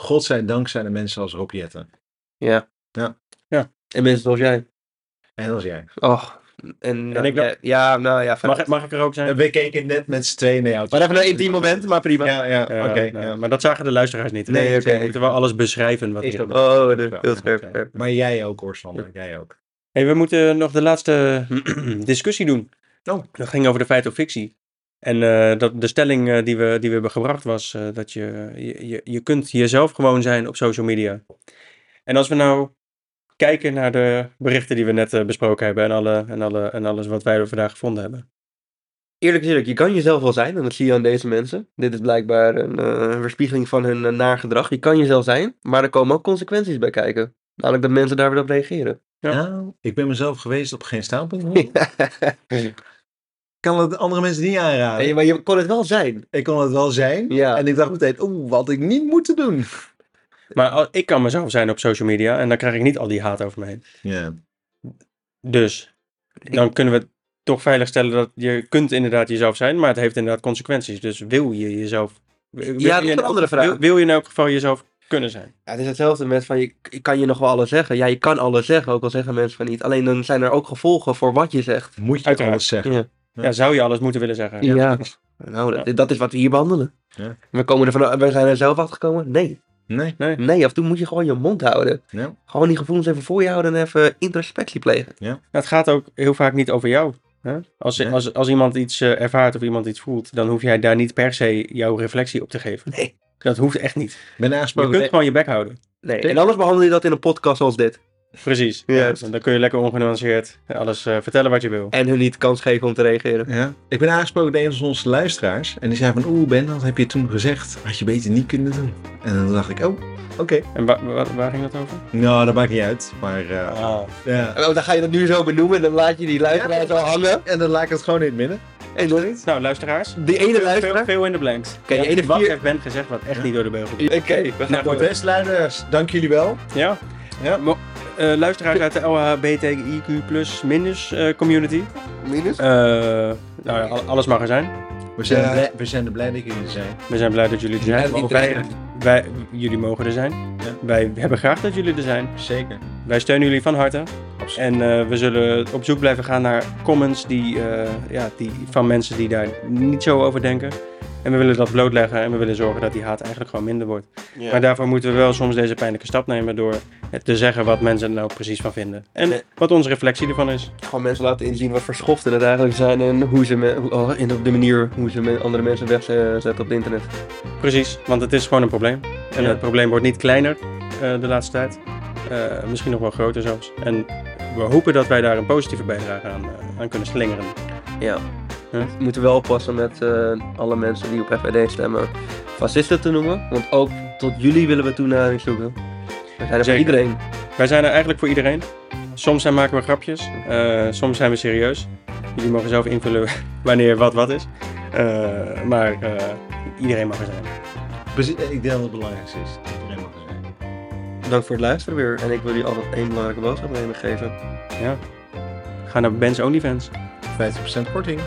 Godzijdank zijn er mensen als Rob Jetten.
Ja.
Ja.
Ja.
En mensen zoals jij.
En als jij.
Och. En,
En ik
ja,
dacht-
ja, nou ja.
Mag, mag ik er ook zijn?
We keken net met z'n tweeën naar jou.
Maar even een intiem moment, maar prima.
Ja, ja,
Ja,
oké.
nou,
ja.
Maar dat zagen de luisteraars niet.
Nee,
Dus
oké.
We moeten wel alles beschrijven. Wat
Is
er
ook
Oh, dat is
Ja,
heel scherp.
oké.
scherp.
Maar jij ook, Orsander. Jij ook.
Hey, we moeten nog de laatste discussie doen. Dat ging over de feit of fictie. En eh, dat de stelling eh, die, we, die we hebben gebracht was eh, dat je, je, je- je kunt jezelf gewoon zijn op social media. En als we nou kijken naar de berichten die we net eh, besproken hebben en, alle, en, alle, en alles wat wij er vandaag gevonden hebben.
Eerlijk gezegd, je kan jezelf wel zijn. En dat zie je aan deze mensen. Dit is blijkbaar een eh, weerspiegeling van hun eh, naar gedrag. Je kan jezelf zijn, maar er komen ook consequenties bij kijken. Namelijk dat mensen daar weer op reageren.
Ja.
Nou, ik ben mezelf geweest op geen staalpunt. Ik kan het andere mensen niet aanraden.
Hey, maar je kon het wel zijn.
Ik kon het wel zijn.
Ja.
En ik dacht meteen, oeh, wat ik niet moeten doen.
Maar al- ik kan mezelf zijn op social media en dan krijg ik niet al die haat over me heen.
Ja.
Dus dan kunnen we toch veiligstellen dat je kunt inderdaad jezelf zijn, maar het heeft inderdaad consequenties. Dus wil je jezelf... wil-
Ja, dat
wil
is
je-
een andere vraag.
Wil, wil je in elk geval jezelf kunnen zijn?
Ja, het is hetzelfde met van, je, je kan je nog wel alles zeggen. Ja, je kan alles zeggen, ook al zeggen mensen van niet. Alleen dan zijn er ook gevolgen voor wat je zegt.
Moet je
Uiteraard.
alles zeggen. Ja.
Ja, zou je alles moeten willen zeggen?
Ja. Nou, dat, dat is wat we hier behandelen.
Ja.
We, komen er van, we zijn er zelf achter gekomen? Nee.
Nee.
Nee, af en toe moet je gewoon je mond houden.
Ja.
Gewoon die gevoelens even voor je houden en even introspectie plegen.
Nou, het gaat ook heel vaak niet over jou. Hè? Als,
Nee.
als, als iemand iets eh, ervaart of iemand iets voelt, dan hoef jij daar niet per se jouw reflectie op te geven.
Nee.
Dat hoeft echt niet.
Ik ben
Je
aangesproken.
kunt gewoon je bek houden.
Nee. En anders behandel je dat in een podcast zoals dit.
Precies.
Juist.
dan kun je lekker ongenuanceerd alles eh, vertellen wat je wil.
En hun niet kans geven om te reageren.
Ja. Ik ben aangesproken door een van onze luisteraars. En die zei van, oeh Ben, dat heb je toen gezegd. Had je beter niet kunnen doen. En dan dacht ik, oh, oké.
En wa- wa- waar ging dat over?
Nou, dat maakt niet uit. Maar eh, ja.
Oh, dan ga je dat nu zo benoemen en dan laat je die luisteraar zo hangen.
En dan laat ik het gewoon in het midden.
En dan is
Nou, luisteraars.
die ene
Veel,
luisteraar.
veel in de blanks.
Oké, die ene
wat
vier-
heeft Ben gezegd wat echt niet door de beugel ging?
Oké, we gaan
Nou,
door.
goed.
Beste luisteraars, dank jullie wel.
Ja.
Ja.
Mo- eh, luisteraars uit de LHBTIQ plus minus eh, community.
Minus.
Eh, nou ja, al- alles mag er zijn.
We zijn,
Ja.
blij, we zijn er blij dat jullie er zijn.
We zijn blij dat jullie er zijn.
niet
Ook
dreigen.
wij, wij- jullie mogen er zijn.
Ja.
Wij hebben graag dat jullie er zijn.
Zeker.
Wij steunen jullie van harte.
Absoluut.
En eh, we zullen op zoek blijven gaan naar comments die, eh, ja, die, van mensen die daar niet zo over denken. En we willen dat blootleggen en we willen zorgen dat die haat eigenlijk gewoon minder wordt. Maar daarvoor moeten we wel soms deze pijnlijke stap nemen door het te zeggen wat mensen er nou precies van vinden. En
Nee.
wat onze reflectie ervan is.
Gewoon mensen laten inzien wat voor schoften het eigenlijk zijn en hoe ze me, hoe- oh, en op de manier hoe ze me- andere mensen wegzetten op het internet.
Precies, want het is gewoon een probleem. En
Ja.
het probleem wordt niet kleiner eh, de laatste tijd. Eh, misschien nog wel groter zelfs. En we hopen dat wij daar een positieve bijdrage aan, eh, aan kunnen slingeren.
Ja.
Huh?
We moeten wel oppassen met eh, alle mensen die op FVD stemmen fascisten te noemen. Want ook tot jullie willen we toenadering zoeken. We zijn er voor
Zeker.
iedereen.
Wij zijn er eigenlijk voor iedereen. Soms zijn, maken we grapjes, eh, soms zijn we serieus. Jullie mogen zelf invullen wanneer wat wat is. Eh, maar eh, iedereen mag er zijn.
Precies, ik denk dat het belangrijkste is. dat iedereen mag er zijn.
Bedankt voor het luisteren weer. En ik wil jullie altijd één belangrijke boodschap mee geven.
Ja. Ga naar Ben's OnlyFans.
50% korting.